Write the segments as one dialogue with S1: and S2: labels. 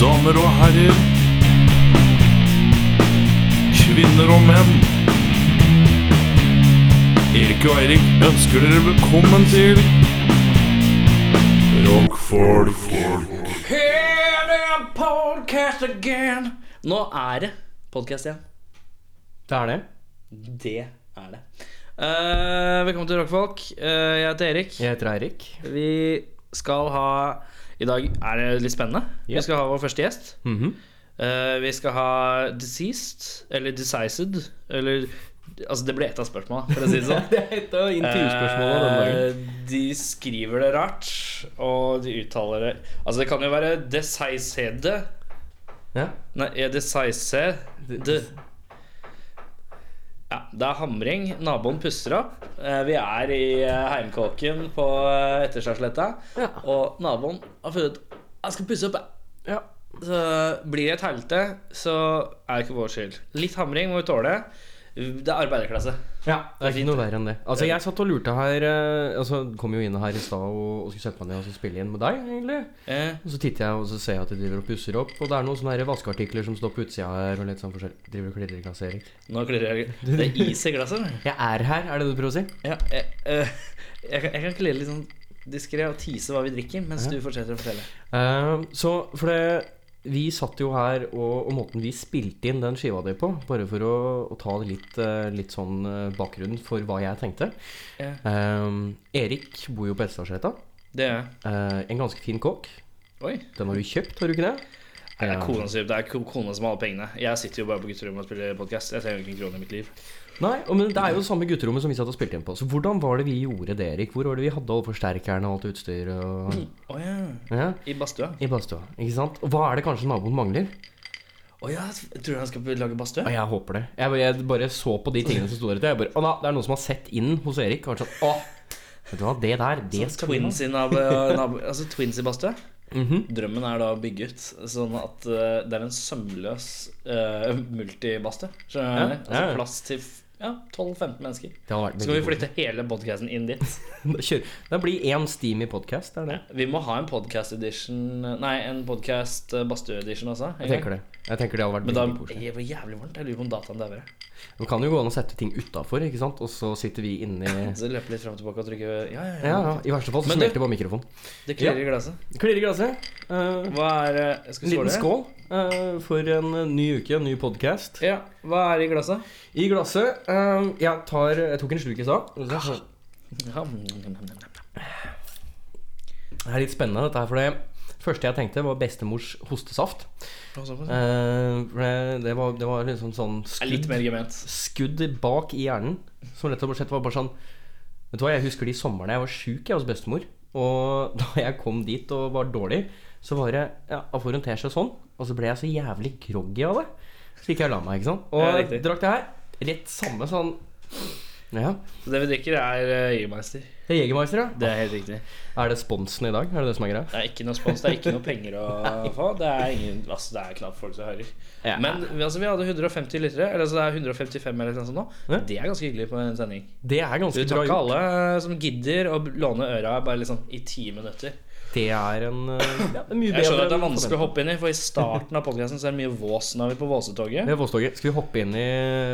S1: damer og herrer. Kvinner og menn. Erik og Eirik ønsker dere velkommen til Rock for folk.
S2: podcast again. Nå er det podcast igjen.
S3: Det er det.
S2: Det er det. Eh, velkommen til Rockfolk. Eh, jeg heter Erik.
S3: Jeg heter Eirik.
S2: Vi skal ha I dag er det litt spennende.
S3: Ja.
S2: Vi skal ha vår første gjest.
S3: Mhm.
S2: Eh, vi skal ha Deceased, eller Decised, eller Altså, det ble ett av spørsmålene, for å si det sånn.
S3: Det er et av intervjuspørsmålene denne dagen.
S2: Eh, De skriver det rart, og de uttaler det Altså, det kan jo være decisede.
S3: Ja.
S2: Nei, er det size? Det. Ja, det er hamring. Naboen pusser opp. Eh, Vi er i eh, heimkåken på eh, Etterstadsletta,
S3: Ja.
S2: og naboen har funnet Jeg skal pusse opp, jeg.
S3: ja.
S2: Så blir det et helte, så er det ikke vår skyld. Litt hamring må vi tåle. Det er arbeiderklasse.
S3: Det er ikke noe verre enn det. Altså, jeg satt og lurte her eh, Altså, kom jo inn her i stad og, og skulle sette meg ned og så spille inn med deg, egentlig.
S2: Eh,
S3: Og så titter jeg og så ser jeg at de driver og pusser opp, og det er noen sånne her vaskeartikler som står på utsida her og litt sånn forskjellig. Driver og klirrer i glasset, Erik.
S2: nå klirrer jeg. Det er is i glasset. eller?
S3: Jeg er her, er det det du prøver å si?
S2: Ja, jeg, eh, jeg, kan- jeg kan klirre litt sånn diskré og tise hva vi drikker, mens du fortsetter å fortelle.
S3: Eh, så for det Vi satt jo her, og, og måten vi spilte inn den skiva di på, bare for å, å ta litt, eh, litt sånn eh, bakgrunn for hva jeg tenkte
S2: Ja.
S3: Eh, Erik bor jo på Etstadsletta.
S2: Det gjør jeg.
S3: Eh, en ganske fin kåk.
S2: Oi.
S3: Den har du kjøpt, har du ikke det? Eh,
S2: Det er
S3: Ja.
S2: kona som, det er ko- kona som har alle pengene. Jeg sitter jo bare på gutterommet og spiller podkast. Jeg trenger jo ikke en krone i mitt liv.
S3: Nei, og, men det er jo det samme gutterommet som vi satt og spilte inn på. Så hvordan var det vi gjorde det, Erik? Hvor var det vi hadde alle forsterkerne og alt utstyret og
S2: Å ja.
S3: ja,
S2: I badstua?
S3: I badstua, ikke sant? Og hva er det kanskje naboen mangler?
S2: Å ja, tror du han skal lage badstue?
S3: Ja, jeg håper det. Jeg, jeg bare så på de tingene som sto der ute. Jeg bare, å, nei, det er noen som har sett inn hos Erik. Og vært sånn, å, vet du hva, det der, det skal vi ha.
S2: Sånn
S3: Mhm.
S2: Twins i nabo, nabo, altså twins i badstue? Drømmen er da å bygge ut sånn at eh, det er en sømløs uh, multibadstue. Skjønner du? hva jeg mener?
S3: Ja, ja,
S2: Altså
S3: ja.
S2: plass til f- ja, 12-15 mennesker.
S3: Det har vært
S2: Så kan vi
S3: veldig
S2: flytte hele podkasten inn dit.
S3: god. Kjør. Det blir én steam i podcast, det er det.
S2: Vi må ha en podcast edition Nei, en podcast badstue edition også.
S3: Jeg tenker det. Jeg tenker det hadde vært
S2: Men da
S3: veldig
S2: er
S3: koselig.
S2: det jævlig varmt. Jeg lurer på om dataen dauer.
S3: Det kan jo gå an å sette ting utafor, ikke sant, og så sitter vi inni
S2: Så løper litt frem og tilbake og trykker Ja, ja, ja.
S3: ja, ja, I verste fall så
S2: Men det-
S3: smelter det bare mikrofonen.
S2: Det klirrer i glasset.
S3: Klirr i glasset. Eh,
S2: Hva er eh, jeg skal
S3: en liten
S2: skåle?
S3: skål eh, for en eh, ny uke, en ny podkast.
S2: Ja, hva er i glasset?
S3: I glasset eh, Jeg tar Jeg tok en slurk i stad.
S2: Ja, mm, mm, mm, mm.
S3: Det er litt spennende dette her, for det første jeg tenkte var bestemors hostesaft.
S2: Hva så på det?
S3: Eh, for det, det var, det var liksom sånn
S2: Det er litt
S3: skudd,
S2: mer gement.
S3: skudd bak i hjernen. Som rett og slett var bare sånn Vet du hva, jeg husker de somrene jeg var sjuk hos bestemor. Og da jeg kom dit og var dårlig, så var det ja, Jeg får en teskje sånn, og så ble jeg så jævlig groggy av det. Så gikk jeg og la meg, ikke sant. Og
S2: Ja, riktig.
S3: drakk det her. Rett samme sånn Ja.
S2: Så det vi drikker, er eh, Jägermeister.
S3: Det er Jegermeister, ja.
S2: Det er helt riktig.
S3: Er det sponsen i dag? Er det det som er greia?
S2: Det er ikke noe spons, det er ikke noe penger å få. Det er, ingen, altså, det er knapt folk som hører.
S3: Ja.
S2: Men vi- altså, vi hadde 150 lyttere. Eller altså, det er 155 eller noe sånt nå.
S3: Ja.
S2: Det er ganske hyggelig på en sending.
S3: Det er
S2: Du
S3: ganske
S2: tar
S3: bra
S2: ikke
S3: gjort.
S2: alle eh, som gidder å låne øra bare liksom i ti minutter.
S3: Det er en eh, ja, det er mye bedre
S2: Jeg skjønner at det er
S3: enn
S2: vanskelig å hoppe inn i, for i starten av podkasten er det mye vås når vi er på Våsetoget.
S3: Det er Våstoget. Skal vi hoppe inn i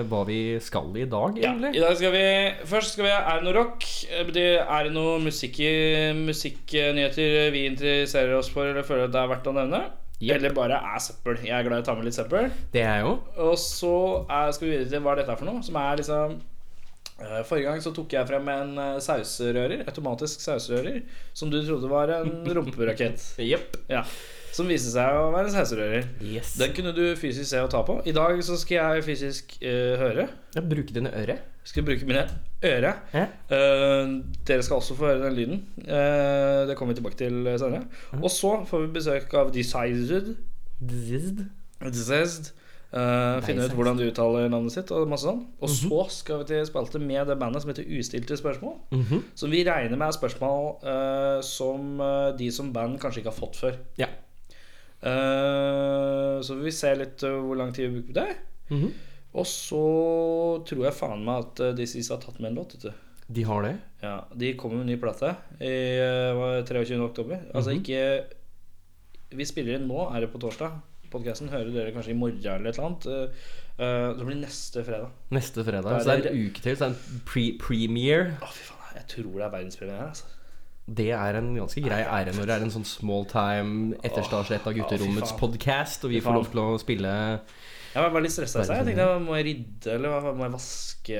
S3: hva vi skal i dag,
S2: Ja,
S3: egentlig?
S2: I dag skal vi Først skal vi ha Er det noe rock? Eh, Det er det noe musikk i- musikknyheter vi interesserer oss for eller føler at det er verdt å nevne?
S3: Yep.
S2: Eller bare er søppel. Jeg er glad i å ta med litt søppel.
S3: Det er jeg jo.
S2: Og så er, skal vi videre til hva er dette er for noe, som er liksom eh, Forrige gang så tok jeg frem en eh, sauserører, automatisk sauserører, som du trodde var en rumperakett.
S3: Jepp.
S2: Ja. Som viste seg å være en sauserører.
S3: Yes.
S2: Den kunne du fysisk se og ta på. I dag så skal jeg fysisk eh, høre.
S3: Jeg bruker dine øre.
S2: Skal bruke mine øre.
S3: Ja.
S2: Eh, dere skal også få høre den lyden. Eh, det kommer vi tilbake til senere. Og så får vi besøk av Decided.
S3: Zizd.
S2: Decised. eh, finne ut
S3: Decised.
S2: hvordan de uttaler navnet sitt. Og masse sånn Og så skal vi til spalte med det bandet som heter Ustilte spørsmål.
S3: Mhm.
S2: Som vi regner med er spørsmål eh, som eh, de som band kanskje ikke har fått før.
S3: Ja.
S2: Eh, så vi ser litt eh, hvor lang tid vi bruker på det.
S3: Mhm.
S2: Og så tror jeg faen meg at eh, This Is har tatt med en låt. Vet du.
S3: De har det.
S2: Ja, De kommer med en ny plate i eh, hva, 23. oktober. Altså ikke Vi spiller inn nå, er det på torsdag. podkasten hører dere kanskje i morgen eller et eller annet. eh, eh, det blir neste fredag.
S3: Neste
S2: Da
S3: fredag.
S2: er
S3: Så det
S2: det-
S3: er en uke til, så det er en pre premiere.
S2: Å, fy faen, jeg tror det er verdenspremiere. Altså.
S3: Det er en ganske grei ære når det er en sånn small time etterstasjett av gutterommets
S2: Åh, fy faen.
S3: podcast, og vi
S2: Fy faen.
S3: får lov til å spille
S2: Jeg var bare litt stressa i stad. Jeg tenkte må jeg rydde, eller hva- må jeg vaske?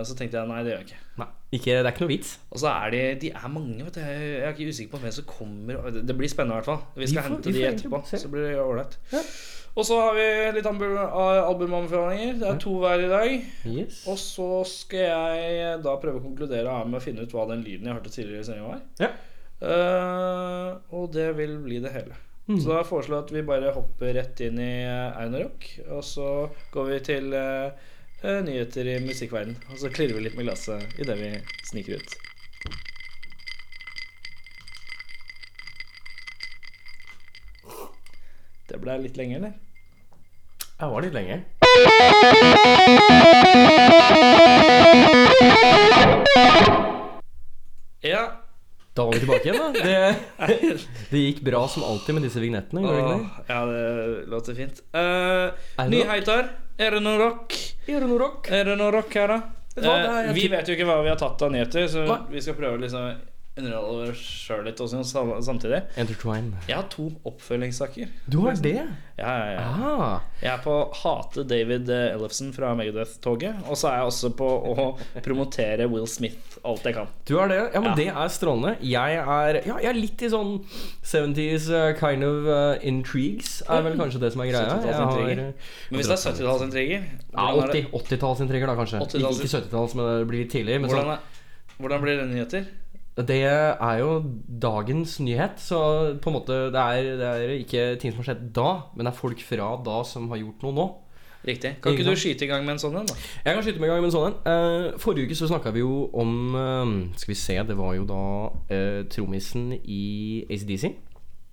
S2: Og så tenkte jeg nei, det gjør jeg ikke.
S3: Nei, ikke, det er ikke noe vits.
S2: Og så er de De er mange, vet du. Jeg jeg er ikke usikker på hvem som kommer. og Det det blir spennende i hvert fall. Vi skal
S3: Vi får-
S2: hente
S3: vi
S2: de
S3: får egentlig
S2: etterpå.
S3: bare se.
S2: Så blir det ålreit.
S3: Ja.
S2: Og så har vi litt album- albumanbefalinger. Det er to hver i dag.
S3: Yes.
S2: Og så skal jeg da prøve å konkludere her med å finne ut hva den lyden jeg hørte tidligere i sendinga var.
S3: Ja.
S2: Eh, og det vil bli det hele. Så da foreslår jeg at vi bare hopper rett inn i eh, Einar Rock. Og så går vi til eh, eh, nyheter i musikkverden Og så klirrer vi litt med glasset idet vi sniker ut. Det ble litt lenge, eller?
S3: Jeg var litt lenge.
S2: Ja.
S3: Da var vi tilbake igjen, da. Det, det gikk bra som alltid med disse vignettene. gjorde det ikke det?
S2: Åh, ja, det låter fint. Uh,
S3: Er det
S2: ny
S3: noe-
S2: heitar. Er det noe rock? Er det noe rock her, da?
S3: Vet du hva, det er-
S2: Eh,
S3: jeg
S2: vi
S3: tror-
S2: vet jo ikke hva vi har tatt av nyheter, så
S3: Nei.
S2: vi skal prøve å liksom underholde oss sjøl litt også, sam- samtidig.
S3: Entertwine.
S2: Jeg har to oppfølgingssaker.
S3: Du har det?
S2: Ja, ja, ja.
S3: Ah,
S2: Jeg er på å hate David eh, Ellefsen fra Megadeth-toget. Og så er jeg også på å promotere Will Smith alt jeg kan.
S3: du har det? Ja, men
S2: Ja.
S3: det er strålende. Jeg er, ja, jeg er litt i sånn 70s uh, kind of uh, intrigues, er
S2: Mm.
S3: vel kanskje det som er greia.
S2: 70-tallsintriger.
S3: Jeg har-
S2: Men hvis det er 70-tallsintriger
S3: Ja,
S2: hvordan, er det-
S3: 80 80-tallsintriger, da, kanskje.
S2: 80-talls-
S3: Ikke 70-talls, men det blir litt tidlig. Men
S2: hvordan,
S3: sånn,
S2: er- hvordan blir det nyheter?
S3: det er jo dagens nyhet, så på en måte det er, det er ikke ting som har skjedd da, men det er folk fra da som har gjort noe nå.
S2: Riktig. Kan ikke du skyte i gang med en sånn en, da?
S3: Jeg kan skyte meg i gang med en sånn en. Eh, forrige uke så snakka vi jo om eh, Skal vi se, det var jo da uh, trommisen i ACDC,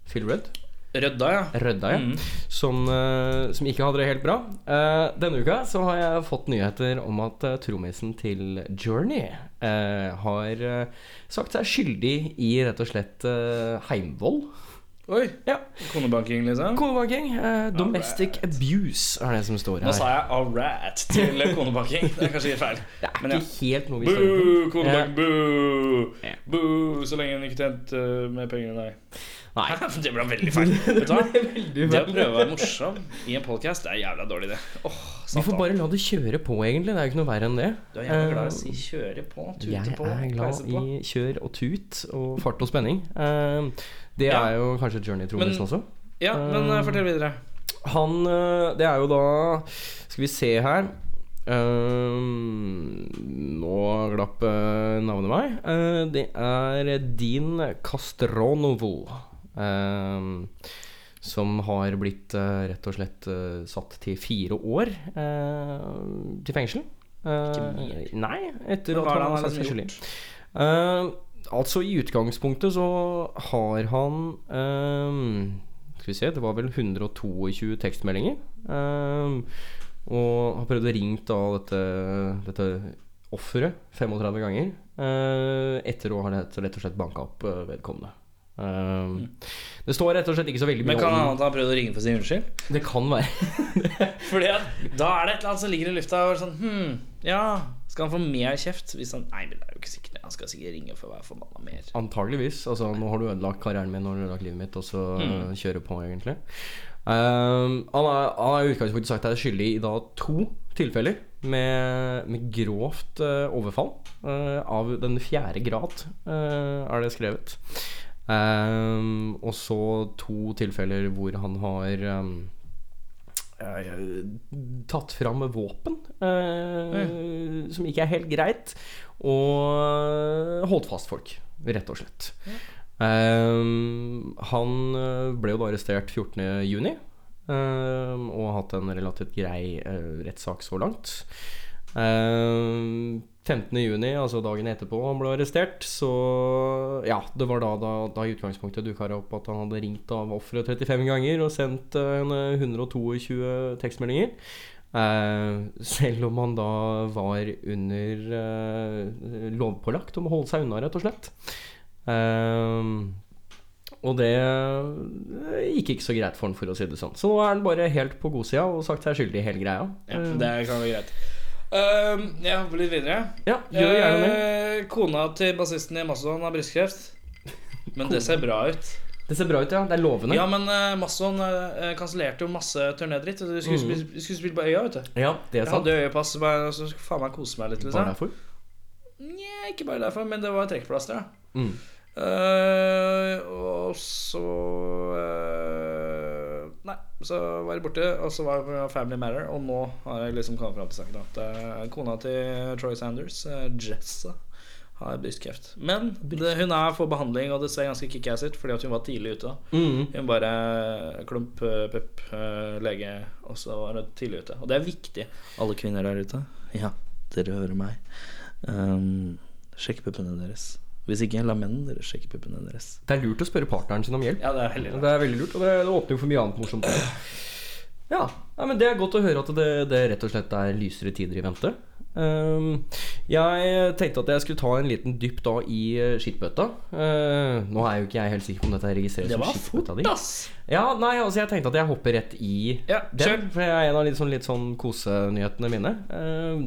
S3: Phil Rudd,
S2: Rødda, ja.
S3: Rødda,
S2: Mm.
S3: ja, som, eh, som ikke hadde det helt bra. Eh, denne uka så har jeg fått nyheter om at uh, trommisen til Journey eh, har eh, sagt seg skyldig i rett og slett eh, heimvoll.
S2: Oi.
S3: Ja.
S2: Konebanking, liksom.
S3: Konebanking. eh, domestic abuse er det som står
S2: Nå
S3: her.
S2: sa jeg 'alright' til konebanking. Det er kanskje ikke feil.
S3: Det er
S2: Men ja.
S3: ikke helt noe vi står
S2: Boo,
S3: på.
S2: konebanking, boo!
S3: Ja.
S2: Boo, så lenge hun ikke tjente uh, mer penger enn deg.
S3: Nei.
S2: Det ble veldig feil. Vet du hva?
S3: Veldig
S2: Det å prøve å være morsom i en podkast er en jævla dårlig, det. Åh,
S3: Eh, Vi får
S2: satan.
S3: bare la det kjøre på, egentlig. Det er jo ikke noe verre enn det.
S2: Du er jævla glad i å si 'kjøre på',
S3: Eh, jeg
S2: tute på,
S3: er glad
S2: peise på.
S3: i kjør og tut og fart og spenning. Eh, det
S2: Ja.
S3: er jo kanskje Journey-trommisen
S2: Men-
S3: også.
S2: Ja, men eh, fortell videre.
S3: Han eh, Det er jo da Skal vi se her Eh, Nå glapp eh, navnet meg. Eh, det er Dean Castronovo. eh, som har blitt eh, rett og slett eh, satt til fire år eh, til fengsel. Eh, nei, etter
S2: Men hva er det
S3: at han
S2: han
S3: har
S2: har
S3: sagt seg
S2: liksom
S3: skyldig.
S2: gjort?
S3: Eh, altså, i utgangspunktet så har han eh, Skal vi se, det var vel 122 tekstmeldinger. eh, og har prøvd å ringe da dette, dette offeret 35 ganger. eh, etter å ha rett rett og slett banka opp eh, vedkommende. Eh, Det står rett og slett ikke så veldig mye
S2: Mm. Men kan han
S3: om
S2: ha prøvd å ringe for sin unnskyld?
S3: Det kan være.
S2: Fordi at da er det et eller annet som ligger i lufta og er sånn Hm, ja. Skal han få mer kjeft? Hvis han Nei, men det er jo ikke sikkert. Han skal sikkert ringe for å være forbanna mer.
S3: Antageligvis. Altså, nå har du ødelagt karrieren min, nå har du ødelagt livet mitt, og så eh, kjøre på, egentlig. Ehm, han er- han har i utgangspunktet sagt seg skyldig i da to tilfeller med, med grovt eh, overfall. eh, av den fjerde grad, eh, er det skrevet. Ehm, og så to tilfeller hvor han har ehm, eh, tatt fram våpen, eh, som ikke er helt greit, og holdt fast folk, rett og slett. Ehm, han eh, ble jo da arrestert 14.6, um, og har hatt en relativt grei eh, rettssak så langt. Um, 15.6, altså dagen etterpå han ble arrestert, så ja, det var da, da, da i utgangspunktet dukka det opp at han hadde ringt av offeret 35 ganger og sendt eh, en, eh, 122 tekstmeldinger. Eh, selv om han da var under eh, lovpålagt om å holde seg unna, rett og slett. Eh, Og det eh, gikk ikke så greit for han, for å si det sånn. Så nå er han bare helt på godsida og sagt seg skyldig i hele greia. Eh,
S2: Ja, det kan være greit. Ehm, jeg hopper litt videre.
S3: Ja, gjør gjerne det.
S2: Eh, kona til bassisten i Mastodon har brystkreft. Men det ser bra ut.
S3: Det ser bra ut, ja. Det er lovende.
S2: Ja, men uh, Mastodon eh, kansellerte jo masse turnédritt. Du skulle,
S3: Mhm.
S2: spille, du skulle spille på Øya, vet du.
S3: Ja, det er
S2: Jeg
S3: sant.
S2: hadde øyepass, så bare- så skulle faen meg kose meg litt.
S3: Bare
S2: Liksom.
S3: derfor.
S2: Nja, ikke bare derfor, men det var trekkplaster, da.
S3: Mm.
S2: Eh, og så eh, Nei, så var jeg borte, og så var jeg på Family Matter. Og nå har jeg liksom kommet fram til saken at eh, kona til Troy Sanders, eh, Jessa, har brystkreft. Men det, hun er for behandling, og det ser ganske kickass ut fordi at hun var tidlig ute.
S3: Mm.
S2: Hun bare klump, eh, pupp, eh, lege, og så var hun tidlig ute. Og det er viktig. Alle kvinner der ute, ja, dere hører meg. Um, sjekk puppene deres. Hvis ikke, la mennene deres sjekke puppene deres.
S3: Det er lurt å spørre partneren sin om hjelp.
S2: Ja, det er heller
S3: Og Det er veldig lurt, og det, det åpner jo for mye annet morsomt. Ja, nei, men Det er godt å høre at det, det rett og slett er lysere tider i vente. Ehm, jeg tenkte at jeg skulle ta en liten dypp da i eh, skittbøtta. Ehm, nå er jo ikke jeg helt sikker på om dette registreres
S2: Det
S3: som
S2: var
S3: skittbøtta
S2: fort,
S3: di.
S2: ass!
S3: Ja, nei, altså jeg tenkte at jeg hopper rett i
S2: Ja,
S3: den,
S2: kjør.
S3: for det er en av litt sånn, litt sånn kosenyhetene mine. Ehm,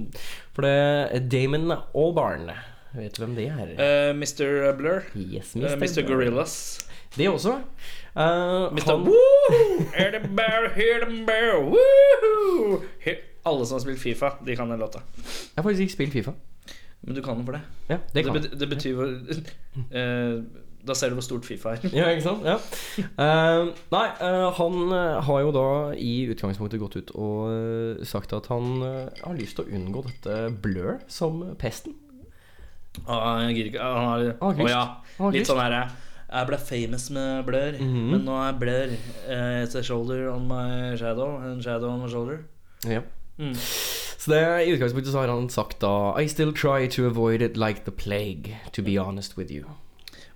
S3: for det Damon Albarn, vet du hvem det er?
S2: Eh, Mr. Blur.
S3: yes,
S2: Eh, Mr. Gorillas.
S3: Det også. Uh,
S2: Mr. Woo! Hear the bear, hear the bear, woohoo! He- Alle som har spilt Fifa, de kan den låta.
S3: Jeg har faktisk ikke spilt Fifa.
S2: Men du kan den for det.
S3: Ja, det
S2: Det,
S3: kan jeg.
S2: bet- det betyr hvor eh, Da ser du hvor stort Fifa er.
S3: Ja, ikke sant? Ja. Eh, nei, eh, han eh, har jo da i utgangspunktet gått ut og eh, sagt at han eh, har lyst til å unngå dette blør som pesten.
S2: Ah, jeg gidder ikke. Ah, Han har
S3: Ah,
S2: Å
S3: August.
S2: ja.
S3: August.
S2: Litt sånn herre Jeg ble famous med blør,
S3: Mhm.
S2: men nå er blør eh, It's a shoulder on my shadow, and shadow on my shoulder.
S3: Ja.
S2: Mm.
S3: Så det, i utgangspunktet så har han sagt da I still try to avoid it like the plague, to be honest with you.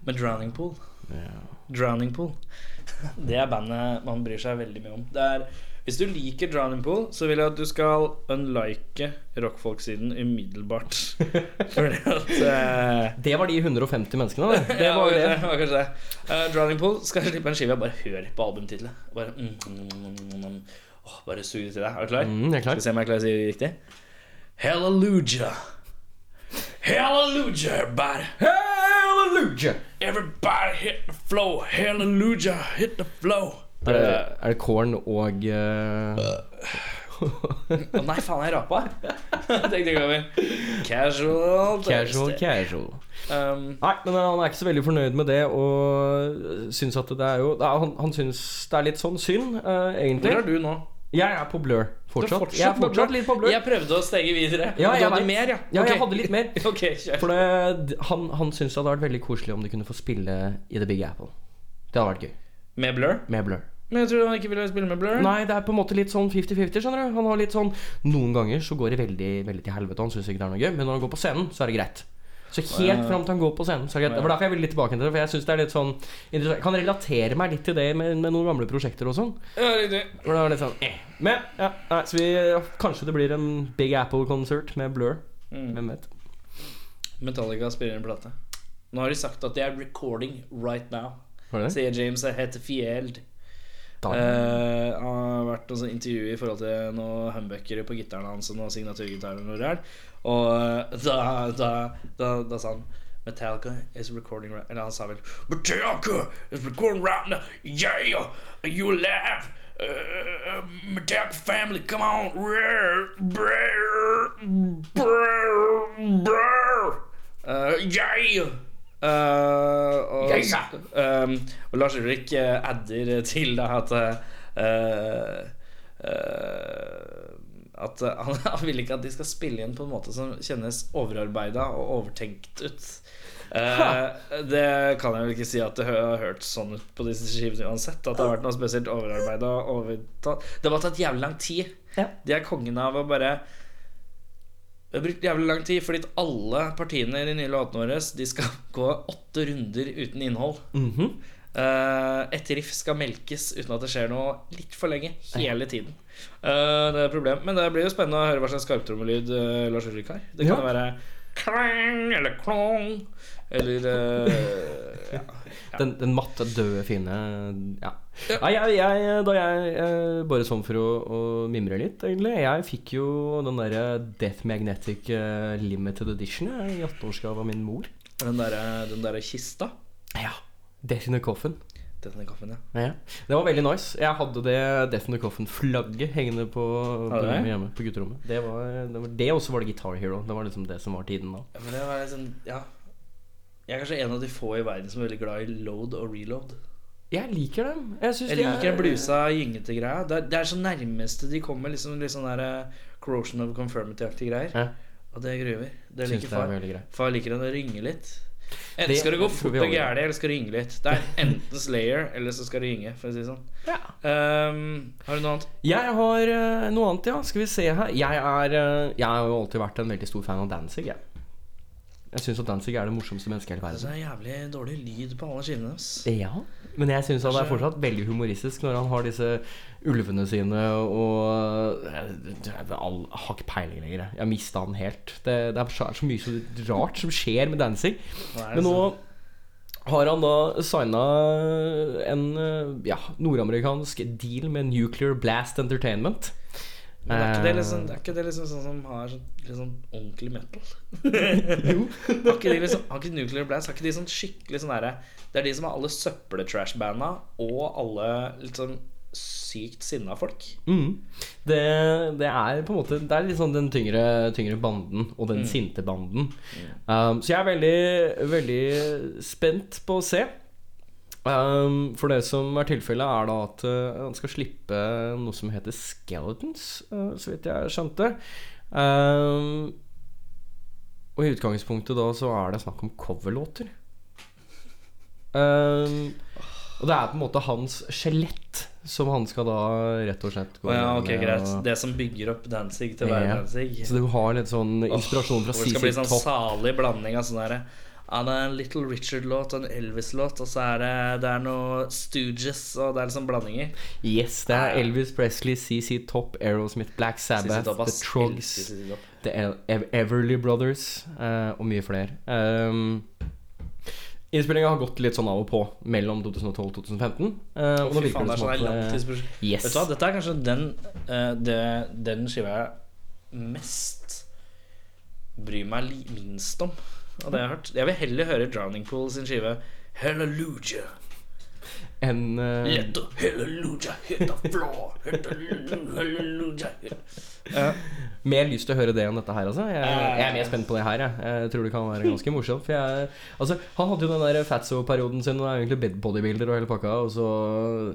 S2: Med Drowning Pool.
S3: Ja.
S2: Drowning Pool. Det er bandet man bryr seg veldig mye om. Det er, hvis du liker Drowning Pool, så vil jeg at du skal unlike rockfolk-siden umiddelbart. Fordi at eh,
S3: Det var de 150 menneskene, det. Det var jo
S2: ja,
S3: det.
S2: det var kanskje det. Eh, Drowning Pool skal slippe en skive. Jeg bare hør på albumtitlet. Bare, mm, mm, mm, mm, mm. Åh, bare sug det til deg. Er du klar?
S3: Mm, jeg er
S2: Skal vi
S3: klar.
S2: se om jeg klarer å si det riktig. Hallelujah. Hallelujah, everybody.
S3: Hallelujah!
S2: Everybody hit the flow. Hallelujah, hit the flow.
S3: Er det,
S2: Eh.
S3: er det Korn og eh,
S2: Å nei, faen, jeg rapa. Tenkte jeg over. Casual.
S3: Casual,
S2: Thursday.
S3: casual.
S2: Um,
S3: Nei, men eh, han er ikke så veldig fornøyd med det, og syns at det er jo da, Han, han syns det er litt sånn synd, eh, egentlig.
S2: hvor er du nå?
S3: Jeg er på blør fortsatt.
S2: fortsatt
S3: jeg er
S2: på blør?
S3: fortsatt litt på blør.
S2: Jeg prøvde å stege videre.
S3: Ja,
S2: du
S3: jeg
S2: hadde
S3: vet.
S2: mer, ja?
S3: Ja,
S2: Ok.
S3: jeg hadde litt mer.
S2: Ok, kjør.
S3: For det, d- han, han syns det hadde vært veldig koselig om de kunne få spille i The Big Apple. Det hadde vært gøy.
S2: Med Blur?
S3: Med blør.
S2: Men jeg tror han ikke ville spille med Blur.
S3: Nei, det er på en måte litt sånn 50-50, skjønner du. Han har litt sånn Noen ganger så går det veldig, veldig til helvete, og han syns ikke det er noe gøy, men når han går på scenen, så er det greit. Så helt fram til han går på scenen. Så er det, greit. det var derfor jeg ville litt tilbake til det. For jeg synes det er litt sånn interessant. Jeg kan relatere meg litt til det med, med noen gamle prosjekter og sånn.
S2: Ja, riktig.
S3: For det var litt sånn eh. Men ja, nei, så vi, kanskje det blir en Big Apple-konsert med Blur.
S2: Mm.
S3: Hvem vet.
S2: Metallica spiller en plate. Nå har de sagt at det er 'recording right now',
S3: Var det det?
S2: sier James Hetfield.
S3: Da.
S2: Eh, han har vært noe sånn intervju i forhold til noen humbuckere på gitaren hans og noen signaturgitarer og noe der. Og eh, da, da, da, da sa han Metallica is recording right Eller han sa vel Metallica is recording right now Yeah, you laugh uh, Metallica family, come on Brr, brr, brr, brr. Eh, Yeah Eh, og, ehm, og Lars Ulrik eh, adder til da at eh, eh, At eh, han, han vil ikke at de skal spille inn på en måte som kjennes overarbeida og overtenkt ut. Eh, det kan jeg vel ikke si at det hø- har hørtes sånn ut på disse skivene uansett. At det har vært noe spesielt overarbeida. Det har bare tatt jævlig lang tid.
S3: Ja.
S2: De er kongen av å bare det har brukt jævlig lang tid, fordi at alle partiene i de nye låtene våre De skal gå åtte runder uten innhold.
S3: Mhm.
S2: Eh, et riff skal melkes uten at det skjer noe litt for lenge. Hele tiden. Eh, det er et problem. Men det blir jo spennende å høre hva slags skarptrommelyd eh, Lars Ulrik har. Det kan
S3: Ja.
S2: være klang eller klong. Eller eh, ja.
S3: Den, den matte, døde, fine Ja. Nei, jeg, jeg, da jeg, eh, Bare sånn for å, å mimre litt, egentlig. Jeg fikk jo den derre Death Magnetic eh, Limited Edition jeg, i 18-årsgave av min mor.
S2: Den derre den derre kista.
S3: Ja. Death in the Coffin.
S2: Den i kaffen, ja.
S3: Ja. Det var veldig nice. Jeg hadde det Death in the Coffin-flagget hengende på,
S2: Hadde
S3: på
S2: du det?
S3: rommet hjemme på gutterommet. Det var det, var, det også var det Guitar Hero. Det var liksom det som var tiden da.
S2: Ja, Men det var liksom, ja Jeg er kanskje en av de få i verden som er veldig glad i load og reload.
S3: Jeg liker dem. Jeg, synes
S2: Jeg
S3: de er-
S2: liker blusa, gyngete greia. Det er, det er så nærmeste de kommer liksom litt sånn der eh, corrosion of conformity-aktige greier.
S3: Ja.
S2: Og det gruver. Det
S3: Synes
S2: liker
S3: det er
S2: far.
S3: veldig greit.
S2: Far liker den å ringe litt. Enten
S3: Det
S2: skal det gå
S3: tror
S2: fort
S3: vi
S2: og
S3: alle gjør.
S2: gæli, eller skal det ringe litt. Det er enten Slayer, eller så skal det ringe, for å si det sånn.
S3: Ja.
S2: Ehm, har du noe annet?
S3: Jeg har eh, noe annet, ja. Skal vi se her. Jeg, er, eh, jeg har jo alltid vært en veldig stor fan av Danzig. Jeg, jeg syns at Danzig er det morsomste mennesket i hele
S2: Altså, det
S3: verden.
S2: er jævlig dårlig lyd på alle skivene deres.
S3: Ja, men jeg syns det er fortsatt veldig humoristisk når han har disse ulvene sine og eh, Jeg har ikke peiling lenger. Jeg mista han helt. Det, det er så så mye så rart som skjer med Danzig.
S2: Nei,
S3: Men nå
S2: altså.
S3: har han da signa en eh, ja, nordamerikansk deal med Nuclear Blast Entertainment.
S2: Men er ikke det liksom,
S3: Eh,
S2: er ikke det liksom sånn som har sånn, litt sånn ordentlig metal? jo. har ikke de liksom, har ikke Nuclear Blast, har ikke de sånn skikkelig sånn derre Det er de som har alle søppeltrashbanda og alle litt sånn sykt sinna folk.
S3: Mm. Det, det er på en måte Det er litt sånn den tyngre, tyngre banden og den sinte banden. Um, så jeg er veldig, veldig spent på å se. Um, for det som er tilfellet, er da at uh, han skal slippe noe som heter Skeletons, uh, så vidt jeg skjønte. Um, og i utgangspunktet da så er det snakk om coverlåter. Um, og det er på en måte hans skjelett som han skal da rett og slett gå
S2: Å ja, ok,
S3: med,
S2: greit.
S3: og-
S2: Det som bygger opp Danzig til å være
S3: Ja.
S2: Danzig.
S3: Så du har litt sånn inspirasjon fra
S2: Hvor det skal bli
S3: CC
S2: sånn
S3: Topp.
S2: salig blanding av sånn derre ja, det er en Little Richard-låt og en Elvis-låt, og så er det, det er noe Stooges, og det er liksom blandinger.
S3: Yes, det er Elvis Presley, CC Topp, Aerosmith, Black Sabbath,
S2: CC Topp,
S3: The
S2: ass.
S3: Trogs,
S2: Elsker CC Topp.
S3: The El- Ev- Everly Brothers eh, og mye flere. Um, Innspillinga har gått litt sånn av og på mellom 2012 og 2015. eh, og
S2: Fy
S3: nå virker
S2: faen, det
S3: det
S2: er
S3: som
S2: sånn
S3: at
S2: der
S3: eh,
S2: langtidsprosjekt.
S3: Yes.
S2: Vet du hva, dette er kanskje den, eh, det, den skiva jeg mest bryr meg li minst om av det jeg har hørt. Jeg vil heller høre Drowning Pool sin skive Hallelujah.
S3: En, eh,
S2: Lett og hallelujah, hetta flå. Hallelujah.
S3: mer lyst til å høre det enn dette her, altså. Jeg,
S2: Eh.
S3: jeg er mer spent på det her, jeg. Jeg tror det kan være ganske morsomt. For jeg, altså, han hadde jo den der fatso-perioden sin, og er egentlig bed- bodybuilder og hele pakka, og så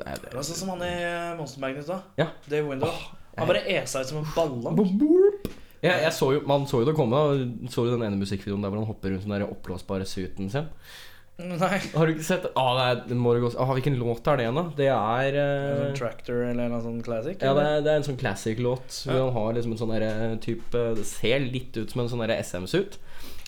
S3: Nei, det-
S2: Det var sånn som han i Monster Magnet, da.
S3: Ja.
S2: Dave Window. Han bare esa ut som en ballong.
S3: Ja, jeg så jo, man så jo det komme. da. Så du den ene musikkvideoen der hvor han hopper rundt den der oppblåsbare suiten sin?
S2: Nei.
S3: Har du ikke sett ah, det? Er, det må det gå, ah, hvilken låt er det igjen, da? Det er
S2: En sånn
S3: eh,
S2: tractor eller en sånn classic?
S3: ja, det
S2: eller?
S3: er, det er en sånn classic-låt. Hvor han har liksom en sånn derre type Det ser litt ut som en sånn derre SM-suit.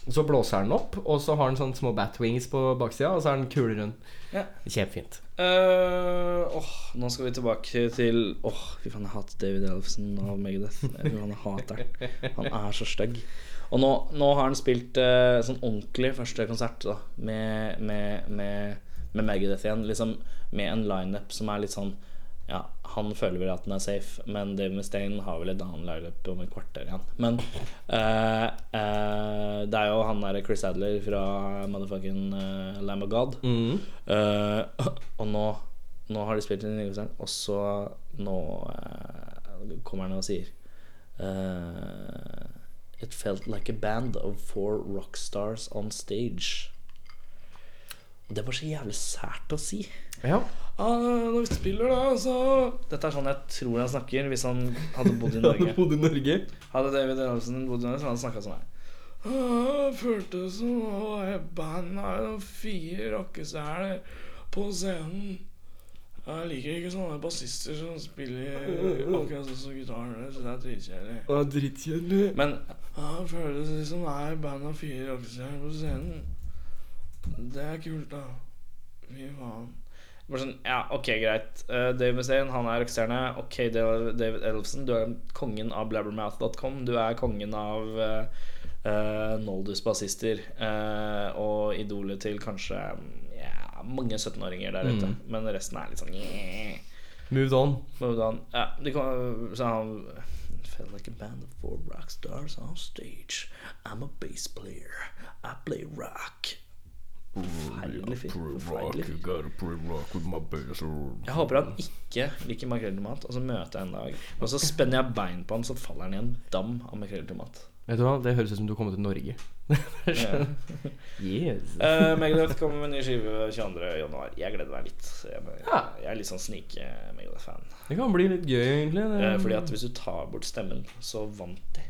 S3: Og Så blåser han den opp, og så har han sånne små batwings på baksida, og så er den kulere enn
S2: Ja.
S3: Kjempefint.
S2: Eh, Åh, nå skal vi tilbake til Åh, fy faen, jeg hater David Ellefsen av Megadeth. Jeg tror han hater den. Han er så stygg. Og nå, nå har han spilt eh, sånn ordentlig første konsert da med, med, med, med Megadeth igjen. Liksom med en lineup som er litt sånn Ja, han føler vel at den er safe, men Dave Mustaine har vel et annet lineup om et kvarter igjen. Men eh, eh, det er jo han derre Chris Adler fra motherfucking eh, Lamb of God.
S3: Mm.
S2: Eh, og nå, nå har de spilt inn Nyhetssending, og så nå eh, kommer han og sier eh, It felt like a band of four rock stars on stage. Og det var så jævlig sært å si.
S3: Ja.
S2: Ja, Ah, når vi spiller, da, så Dette er sånn jeg tror han snakker hvis han hadde bodd i Norge.
S3: Bodde i Norge.
S2: Hadde David Ellefsen bodd under, så hadde han snakka sånn her. Jeg følte som å være band av noen fire rockestjerner på scenen. Jeg liker ikke sånne bassister som spiller akkurat sånn som gitaren. Det synes jeg er dritkjedelig.
S3: Å, Drittkjedelig.
S2: Men jeg føler det som er band av fire rockestjerner på scenen. Det er kult, da. Fy faen. Bare sånn, ja, ok, greit. Eh, Dave Mustaine, han er rockestjerne. Ok, David Elvesen, du er kongen av blabbermouth.com. Du er kongen av eh, eh, Noldus bassister eh, og idolet til kanskje mm, ja, mange 17-åringer der ute. Men resten er litt sånn yeah.
S3: Moved on.
S2: Men da han, ja, de kom, så han Felt like a band of four rock stars on stage. I'm a bass player. I play rock. Forferdelig fint. Forferdelig. fint. Jeg håper han ikke liker makrell i tomat, og så møter jeg en dag Og så spenner jeg bein på han, så faller han i en dam av makrell i tomat.
S3: Vet du hva, Det høres ut som du har kommet til Norge.
S2: Ja.
S3: yes.
S2: Eh, Megadeth kommer med en ny skive 22.1. Jeg gleder meg litt. Jeg, jeg er litt sånn snik-Megadeth-fan.
S3: Det kan bli litt gøy, egentlig. Det,
S2: Eh, fordi at hvis du tar bort stemmen, så vant de.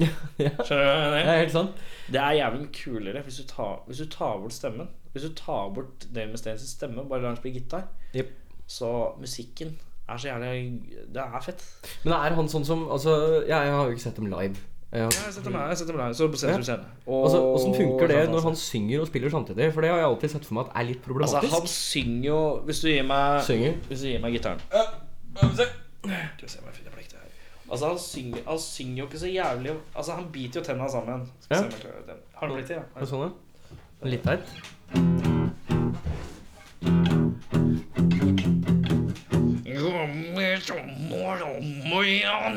S3: ja,
S2: Skjønner du
S3: det
S2: det?
S3: er helt sant.
S2: Det er jævlig mye kulere hvis du, tar, hvis du tar bort stemmen. Hvis du tar bort Dave Mustaines stemme, bare lar han spille gitar,
S3: Jep.
S2: så musikken er så jævlig Det er fett.
S3: Men er han sånn som Altså, jeg, jeg har jo ikke sett dem live. Jeg har-
S2: Jeg har sett dem her, jeg har sett dem her, så setter du scenen. Og-
S3: Altså, Åssen funker det når
S2: altså,
S3: han synger og spiller samtidig? For det har jeg alltid sett for meg at er litt
S2: Altså,
S3: problematisk.
S2: han synger jo Hvis du gir meg
S3: Synger.
S2: Hvis du gir meg gitaren Du ser meg finne plekter her Altså, han synger, han synger jo ikke så jævlig Altså, han biter jo tennene sammen Skal
S3: Ja.
S2: se om jeg klarer den. Har du blitt til,
S3: Er
S2: ja?
S3: det sånn, ja? Litt teit.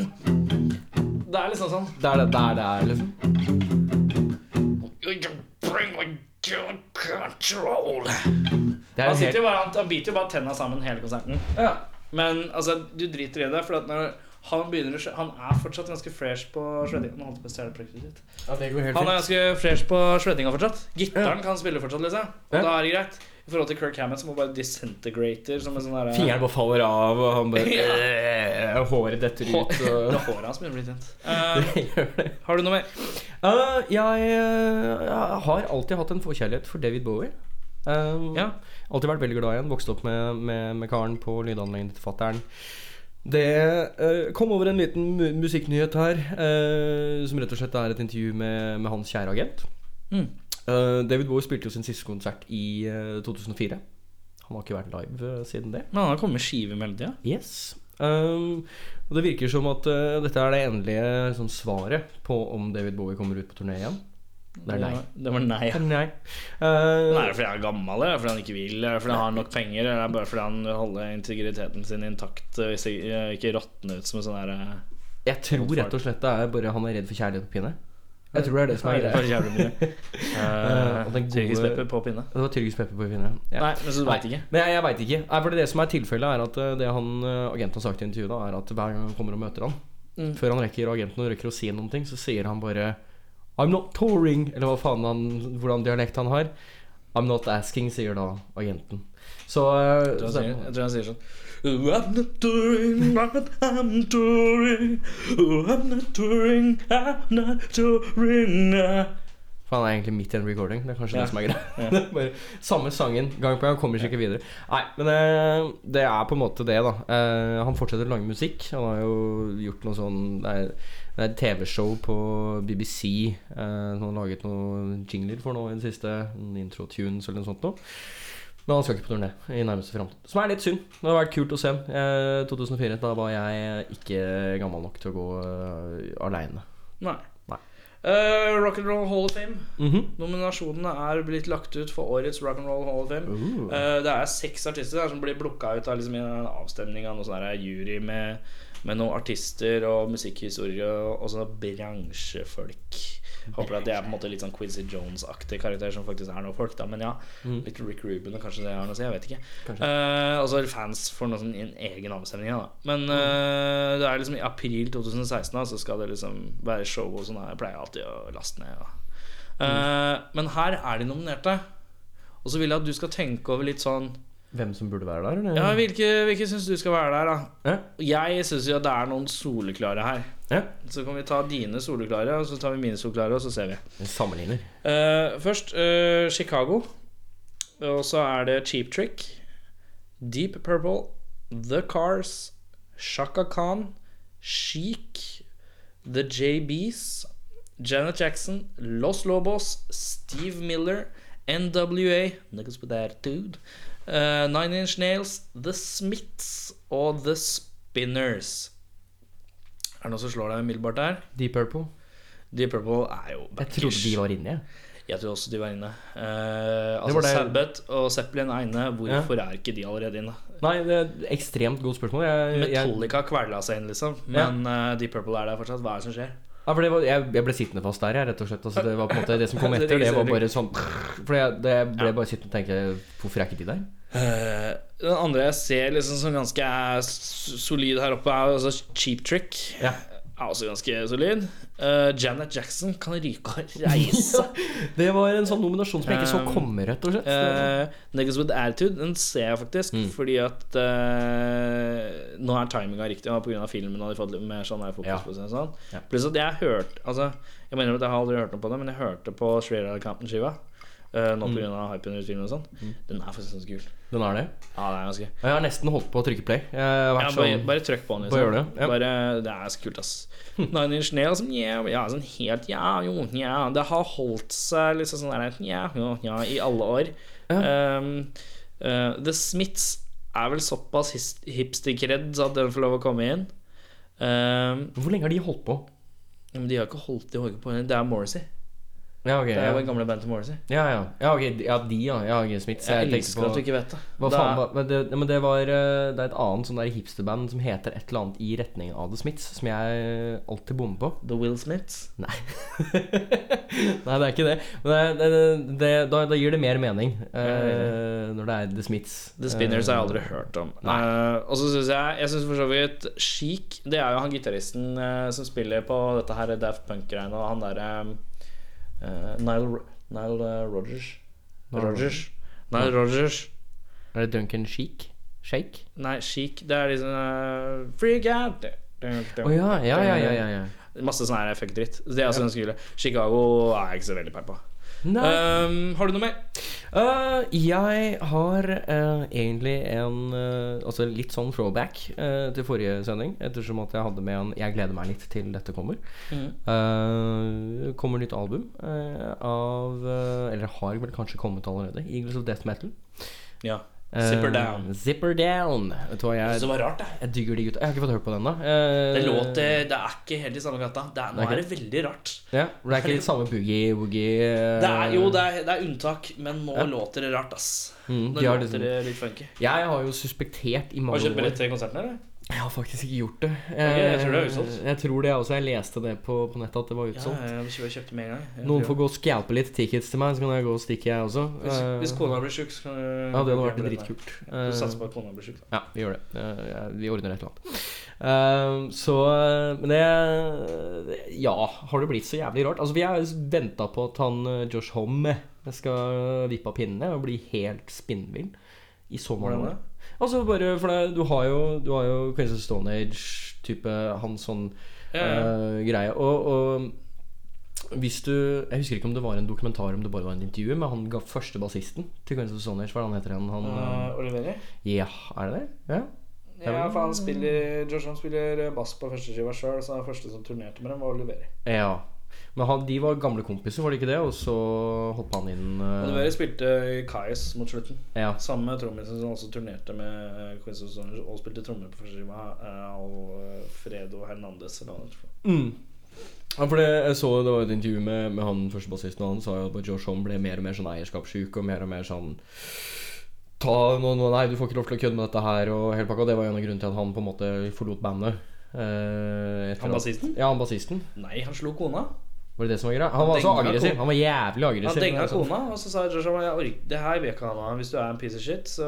S2: Det er liksom sånn
S3: Det er det, det er det, er, liksom. Det er
S2: Han
S3: jo
S2: sitter
S3: helt
S2: jo bare Han, han biter jo bare tennene sammen hele konserten
S3: ja.
S2: Men, altså, du driter i det For at når han begynner å skje- Han er fortsatt ganske fresh på shredding Han holdt på å stjele plekter sitt
S3: ja, det går helt
S2: Han er
S3: fint.
S2: ganske fresh på shreddinga fortsatt. Gitaren kan spille fortsatt, liksom. Og
S3: Ja.
S2: da er det greit. I forhold til Kirk Hammett, som må bare disintegrater som en sånn derre
S3: Fingeren bare faller av, og han bare øh, Håret detter
S2: Hå-
S3: ut
S2: Det
S3: og
S2: er håret hans begynner å bli tynt. Eh, har du noe mer?
S3: Eh, jeg, eh, jeg har alltid hatt en forkjærlighet for David Bowie. Eh,
S2: Ja.
S3: Alltid vært veldig glad i han. Vokste opp med, med, med karen på lydanlegget til fatter'n. Det eh, kom over en liten mu musikknyhet her, eh, som rett og slett er et intervju med, med hans kjære agent.
S2: Mm.
S3: Eh, David Bowie spilte jo sin siste konsert i eh, 2004. Han har ikke vært live eh, siden det.
S2: Men han har kommet med skive med hele tida.
S3: Yes. Um, og det virker som at eh, dette er det endelige sånn, svaret på om David Bowie kommer ut på turné igjen. Det er nei.
S2: Det var nei.
S3: Det
S2: ja.
S3: er nei.
S2: Men
S3: Eh,
S2: Er det fordi han er gammel, eller er det fordi han ikke vil, eller er det fordi han har nok penger, eller er det bare fordi han vil holde integriteten sin intakt eh, og ikke råtne ut som en sånn derre
S3: jeg tror rett og slett det er bare han er redd for kjærlighet på pinne. Jeg tror det er det som er greia. Eh, og den gode-
S2: Tyrkispepper på pinne.
S3: Det var tyrkisk pepper på pinne. Ja.
S2: Nei, men så du veit ikke.
S3: Men jeg, jeg veit ikke. Nei, for det som er tilfellet, er at eh, det han, eh, agenten har sagt i intervjuet, da, er at hver gang han kommer og møter han,
S2: Mm.
S3: før han rekker agenten og rekker å si noen ting, så sier han bare I'm not touring, eller hva faen han, hvordan dialekt han har. I'm not asking, sier da agenten. Så, eh,
S2: Jeg
S3: så
S2: tror han sier- jeg tror han sier sånn I'm not touring, I'm not- I'm touring Oh, I'm not touring, I'm not touring
S3: For han er egentlig midt i en recording. Det er kanskje
S2: Ja.
S3: det som er greia. Det er Bare samme sangen gang på gang. Kommer seg ikke videre. Nei, men eh, det er på en måte det, da. Eh, han fortsetter å lage musikk. Han har jo gjort noe sånn Det er, det er et TV-show på BBC eh, som han har laget noen jingler for nå i det siste. En Intro-tunes eller noe sånt noe. Men han skal ikke på turné i nærmeste framtid. Som er litt synd. Det har vært kult å se ham. Eh, 2004, da var jeg ikke gammel nok til å gå eh, aleine.
S2: Nei
S3: Nei.
S2: Eh, Rock and Roll Hall of Fame Nominasjonene er blitt lagt ut for årets Rock and Roll Hall of Fame Eh, Det er seks artister der som blir blokka ut av liksom, en avstemning av noen sånn der jury med, med noen artister og musikkhistorie og, og sånne bransjefolk. Håper at det er på en måte litt sånn Quincy Jones-aktig karakter som faktisk er noe folk, da. Men ja,
S3: Mm.
S2: litt Rick Ruben og kanskje det har noe å si, jeg vet ikke.
S3: Kanskje.
S2: Eh, og så er det fans for noe sånn i en egen avstemning, ja, da. Men eh, det er liksom i april 2016, da, så skal det liksom være show og sånn. da. Jeg pleier alltid å laste ned. Da. Eh, Men her er de nominerte. Og så vil jeg at du skal tenke over litt sånn
S3: Hvem som burde være der, eller?
S2: Ja, hvilke, hvilke syns du skal være der, da?
S3: Ja.
S2: Og Jeg syns jo at det er noen soleklare her.
S3: Ja.
S2: Så kan vi ta dine soleklare, og så tar vi mine soleklare, og så ser vi.
S3: Jeg Sammenligner.
S2: Eh, først eh, Chicago. Og så er det Cheap Trick, Deep Purple, The Cars, Shaka Khan, Chic, The JBs, Janet Jackson, Los Lobos, Steve Miller, NWA Niggas with that dude, eh, Nine Inch Nails, The Smiths og The Spinners. Er det noe som slår deg umiddelbart der?
S3: Deep Purple.
S2: Deep Purple er jo
S3: Jeg trodde de
S2: backers.
S3: var inne, jeg.
S2: Jeg tror også de var inne. Eh,
S3: Det
S2: altså
S3: var det-
S2: Sabbath og Zeppelin er inne. Hvorfor er ikke de allerede inne?
S3: Nei, det er et ekstremt godt spørsmål.
S2: Eh,
S3: Jeg, jeg,
S2: Metallica kvela seg inn, liksom. Men eh, Deep Purple er der fortsatt. Hva er det som skjer?
S3: ja, for det var, jeg, jeg ble sittende fast der, jeg, rett og slett. Altså, det var på en måte Det som kom
S2: Det
S3: etter, det var
S2: registrerer
S3: bare sånn For jeg det jeg ble bare sittende og tenke Hvorfor er ikke de der?
S2: Eh, den andre jeg ser liksom som ganske er s- solid her oppe, er altså Cheap Trick.
S3: Ja.
S2: Er også ganske solid. Eh, Janet Jackson kan ryke og reise.
S3: Det var en sånn nominasjon som jeg ikke så
S2: Um,
S3: komme, rett og slett.
S2: Eh, Niggas with attitude, den ser jeg faktisk.
S3: Mm.
S2: Fordi at eh, nå er timinga riktig. Og pga. filmen har de fått litt mer sånn her fokus
S3: Ja.
S2: på seg. og Sånn.
S3: Ja.
S2: Pluss at jeg hørte Altså, jeg mener at jeg har aldri hørt noe på det, men jeg hørte på Shrera Campton-skiva. Uh,
S3: Mm.
S2: nå pga. av hypen rundt filmen og sånn. Den er faktisk ganske kul.
S3: Den er det.
S2: Ja, det er ganske
S3: Og Jeg har nesten holdt på å trykke play. Jeg
S2: ja,
S3: har vært
S2: bare,
S3: sånn
S2: bare trykk på den. liksom.
S3: Bare gjør det, ja.
S2: Bare, det er så kult, ass. Nine Inch Nails liksom, ja, ja, sånn helt ja, jo, ja. Det har holdt seg liksom sånn der ja, jo, ja, i alle år. Um, uh, The Smiths er vel såpass his- hipster-kredd at den får lov å komme inn. Um,
S3: Hvor lenge har de holdt på?
S2: men de har ikke holdt de har ikke på Det er Morrissey.
S3: Ja, ok.
S2: Det er
S3: Ja,
S2: jo det gamle bandet til Morrissey.
S3: ja. ja. ja, ok, ja de, ja. ja ok, Smith. så
S2: Jeg,
S3: tenkte
S2: elsker
S3: på-
S2: at du ikke vet det.
S3: Hva
S2: Det
S3: faen
S2: er-
S3: var, men det, nei, men det var eh, Det er et annet sånn der hipsterband som heter et eller annet i retning av The Smiths, som jeg eh, alltid bommer på.
S2: The Will Smiths.
S3: Nei. Nei, det er ikke det. Men det, det, det, da, da gir det mer mening eh, når det er The Smiths.
S2: The Spinners har jeg
S3: Eh,
S2: aldri hørt om. Eh, og så syns jeg Jeg synes for så vidt Chic Det er jo han gitaristen eh, som spiller på dette her Daft Punk-greiene, og han derre Nile, Ro- Nile eh, Rogers.
S3: Nile
S2: Rogers. Nile Rogers.
S3: Er det Duncan Sheik? Shake?
S2: Nei, Chic. Det er liksom eh, Freak out!
S3: Å ja, ja, ja, ja, ja, ja.
S2: Masse sånn her fuck-dritt. Det er også ganske kule. Chicago er jeg ikke så veldig peil på.
S3: Nei.
S2: Eh, har du noe mer?
S3: Eh, jeg har eh, egentlig en eh, Altså litt sånn throwback eh, til forrige sending, ettersom at jeg hadde med en 'Jeg gleder meg litt til dette kommer'.
S2: Mm.
S3: Eh, kommer nytt album eh, av eh, Eller har vel kanskje kommet allerede. Eagles of Death Metal.
S2: Ja.
S3: Eh,
S2: Zipper down.
S3: Zipper Down. Vet du hva,
S2: Det
S3: jeg,
S2: som var rart, det.
S3: jeg digger de gutta. Jeg har ikke fått hørt på den Eh, ennå.
S2: Det låter Det er ikke helt i samme gata. Det er, nå
S3: Ok.
S2: er det veldig rart.
S3: Ja, for det er ikke litt samme boogie-woogie
S2: Det er, jo, det er, det er unntak, men nå låter det rart, ass.
S3: Mm,
S2: nå
S3: de har
S2: låter
S3: liksom-
S2: det litt funky.
S3: Jeg har jo suspektert i mange
S2: Har du kjøpt
S3: år
S2: billett til konserten, eller?
S3: Jeg har faktisk ikke gjort det. Eh,
S2: jeg tror det er utsolgt.
S3: Jeg tror det også. Jeg leste det på, på nettet at det var utsolgt.
S2: jeg kjøpte, kjøpte med en gang. Jeg
S3: Noen
S2: tror-
S3: får gå og scalpe litt tickets til meg, så kan jeg gå og stikke, jeg også.
S2: hvis,
S3: Eh,
S2: hvis kona blir sjuk, så kan du
S3: ja, det hadde vært
S2: kjøpe billetter.
S3: dritkult.
S2: Du satser
S3: Eh,
S2: på at kona blir sjuk, da.
S3: ja, vi gjør det. Eh, ja, vi ordner et eller annet. Eh, så eh, Men det Ja, har det blitt så jævlig rart? Altså, vi har venta på at han eh, Josh Homme skal vippe av pinnene og bli helt spinnvill. I så
S2: Hvordan
S3: måte.
S2: da?
S3: Altså bare for det, du har jo Du har jo Queens of Stone Age-type Hans sånn
S2: Ja, ja.
S3: eh, greie og, og hvis du Jeg husker ikke om det var en dokumentar Om det bare var en intervju Men han ga første bassisten Til Queens of Stone Age Hva er det han heter han? han
S2: Eh, Oliveri?
S3: ja, er det det? Ja
S2: Ja, for han spiller Josh Homme spiller bass på første skiva sjøl, så den første som turnerte med dem, var Oliveri.
S3: Ja Men han, de var gamle kompiser Var det ikke det? Og så hoppet han inn eh,
S2: Oliveri spilte i Kais mot slutten.
S3: Ja
S2: Samme trommisen som også turnerte med Queens of Stone Age og spilte trommer på første skiva, eh, Alfredo Hernandez eller hva det heter.
S3: Mm. Ja, for det, jeg så det var et intervju med, med han første bassisten, og han sa jo at Josh Homme ble mer og mer sånn eierskapssjuk og mer og mer sånn Ta nå, nå, Nei, du får ikke lov til å kødde med dette her og hele pakka. Det var jo en av grunnene til at han på en måte forlot bandet. Eh, etter
S2: Han
S3: at-
S2: bassisten?
S3: Ja, han bassisten.
S2: Nei, han slo kona.
S3: Var det det som var greia? Han var så
S2: denga
S3: aggressiv.
S2: ko-
S3: Han var jævlig aggressiv.
S2: Han denga
S3: Altså.
S2: kona, og så sa Joshua jeg ork- Det her vil jeg ikke ha noe av. Hvis du er en piece of shit, så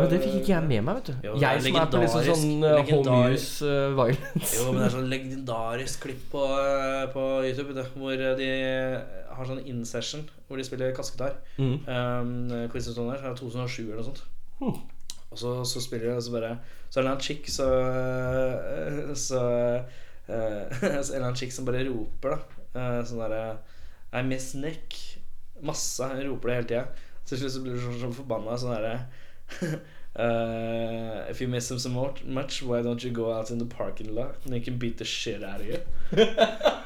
S3: Men det fikk ikke jeg med meg, vet du.
S2: Jo, det er
S3: jeg som er på liksom sånn
S2: legendarisk-
S3: eh, home use eh, violence.
S2: Jo, men det er sånn legendarisk klipp på, eh, på YouTube vet du, hvor eh, de har sånn in-session hvor de spiller kassegitar.
S3: Mm.
S2: Um, Quiz of Stone Age, det er 2007 eller noe sånt.
S3: Hmm.
S2: Og så, så spiller de, og så bare Så er det en chick så, så eh, så er det en chick som bare roper, da. eh, Sånn derre I miss Nick. Masse. Hun roper det hele tida. Til slutt så blir du sånn, sånn forbanna. Sånn derre eh, if you miss him so mo- much, why don't you go out in the parking lot and you can beat the shit out of you?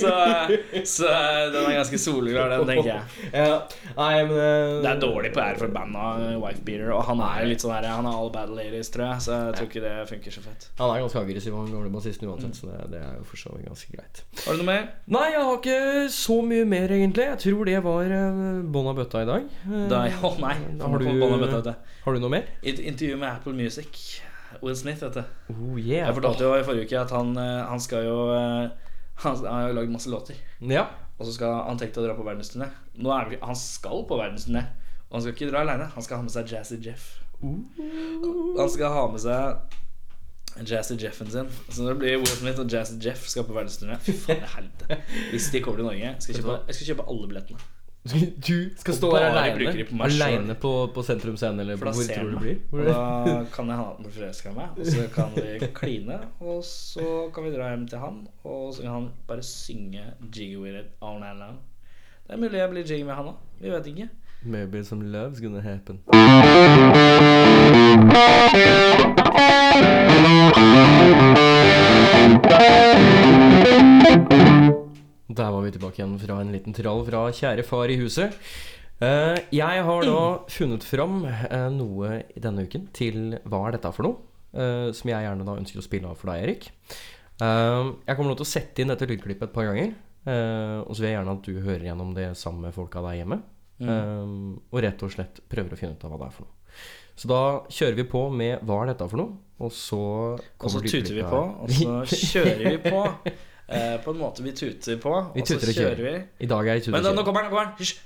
S2: så, så den er ganske soleklar, den, tenker jeg.
S3: Ja, nei, men eh,
S2: Det er dårlig på ære for bandet Wifebeater, eh, og han er litt sånn her Han er all bad ladies, tror jeg, så jeg tror ikke det funker så fett.
S3: Han er ganske aggressiv, han gamle bassisten uansett, så det, det er jo for så vidt ganske greit.
S2: Har du noe mer?
S3: Nei, jeg har ikke så mye mer, egentlig. Jeg tror det var eh, bånn av bøtta i dag. Eh,
S2: Da, å nei.
S3: har, du,
S2: I
S3: har du noe mer?
S2: et intervju med Apple Music. Will Smith, vet du.
S3: Oh yeah.
S2: Jeg fortalte jo i forrige uke at han, eh, han skal jo eh, Han har jo lagd masse låter.
S3: Ja.
S2: Og så skal han tenkt å dra på verdensturné. Nå er vi, han skal på verdensturné. Og han skal ikke dra aleine. Han skal ha med seg Jazzy Jeff. Han skal ha med seg Jazzy Jeffen sin. Så det blir Will Smith og Jazzy Jeff skal på verdensturné. Fy faen i helvete. Hvis de kommer til Norge, skal jeg kjøpe, jeg skal kjøpe alle billettene.
S3: Du skal stå
S2: bare
S3: der
S2: bruker de
S3: aleine
S2: på
S3: på,
S2: meg selv.
S3: alene på, på Sentrum Scene, eller
S2: For da
S3: hvor
S2: ser
S3: tror du
S2: han
S3: det
S2: meg.
S3: blir?
S2: Og
S3: Hvor det-
S2: da kan jeg ha han blir forelska i meg, og så kan vi kline. Og så kan vi dra hjem til han, og så kan han bare synge 'Jiggy with it all night long'. Det er mulig jeg blir jiggy med han òg. Vi vet ikke.
S3: Maybe some love's gonna happen. Der var vi tilbake igjen fra en liten trall fra kjære far i huset. Eh, Jeg har da funnet fram eh, noe i denne uken til hva er dette for noe? eh, Som jeg gjerne da ønsker å spille av for deg, Erik. Eh, Jeg kommer nå til å sette inn dette lydklippet et par ganger. eh, Og så vil jeg gjerne at du hører gjennom det sammen med folka der hjemme.
S2: Mm.
S3: Um, og rett og slett prøver å finne ut av hva det er for noe. Så da kjører vi på med hva er dette for noe, og så
S2: Og så
S3: kommer
S2: tuter vi
S3: lydklippet
S2: på,
S3: her.
S2: og så kjører vi på. Eh, på en måte vi tuter på,
S3: Vi
S2: og så
S3: tuter og
S2: kjører vi.
S3: I dag er jeg
S2: Men da, nå
S3: tutekjører.
S2: kommer den, nå kommer den! Hysj!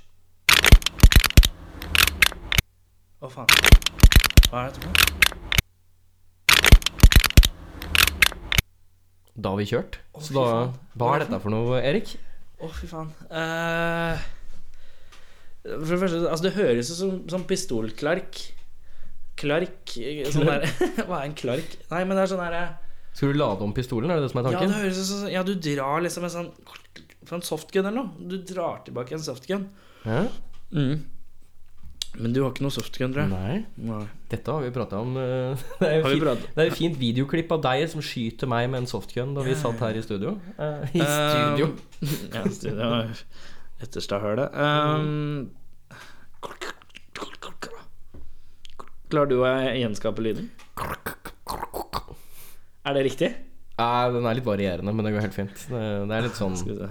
S2: Å, faen. Hva er dette for noe?
S3: Da har vi kjørt.
S2: Å,
S3: Så
S2: fy
S3: da
S2: faen.
S3: Hva er dette for noe, Erik?
S2: Å, fy faen. Eh, for det første, altså det høres ut som, som pistolklark. Klark eh, sånn der. Hva er en klark? Nei, men det er sånn herre
S3: Skal du lade om pistolen, er det det som er
S2: Ja, det
S3: tanken?
S2: høres ut som Ja, du drar liksom en sånn Fra en softgun eller noe. Du drar tilbake en softgun.
S3: Ja,
S2: Men du har ikke noe softgun, tror jeg.
S3: Nei.
S2: Nei.
S3: Dette har vi prata om. eh, Det er jo
S2: Har vi
S3: fint-
S2: pratet-
S3: det er et fint videoklipp av deg som skyter meg med en softgun da vi satt her i studio. Eh, I
S2: Um,
S3: studio.
S2: ja, studio er Etterstadhølet. Um, klarer du å gjenskape lyden? Er det riktig?
S3: Nei, Eh, den er litt varierende, men det går helt fint. Det det er litt sånn
S2: Skal vi se.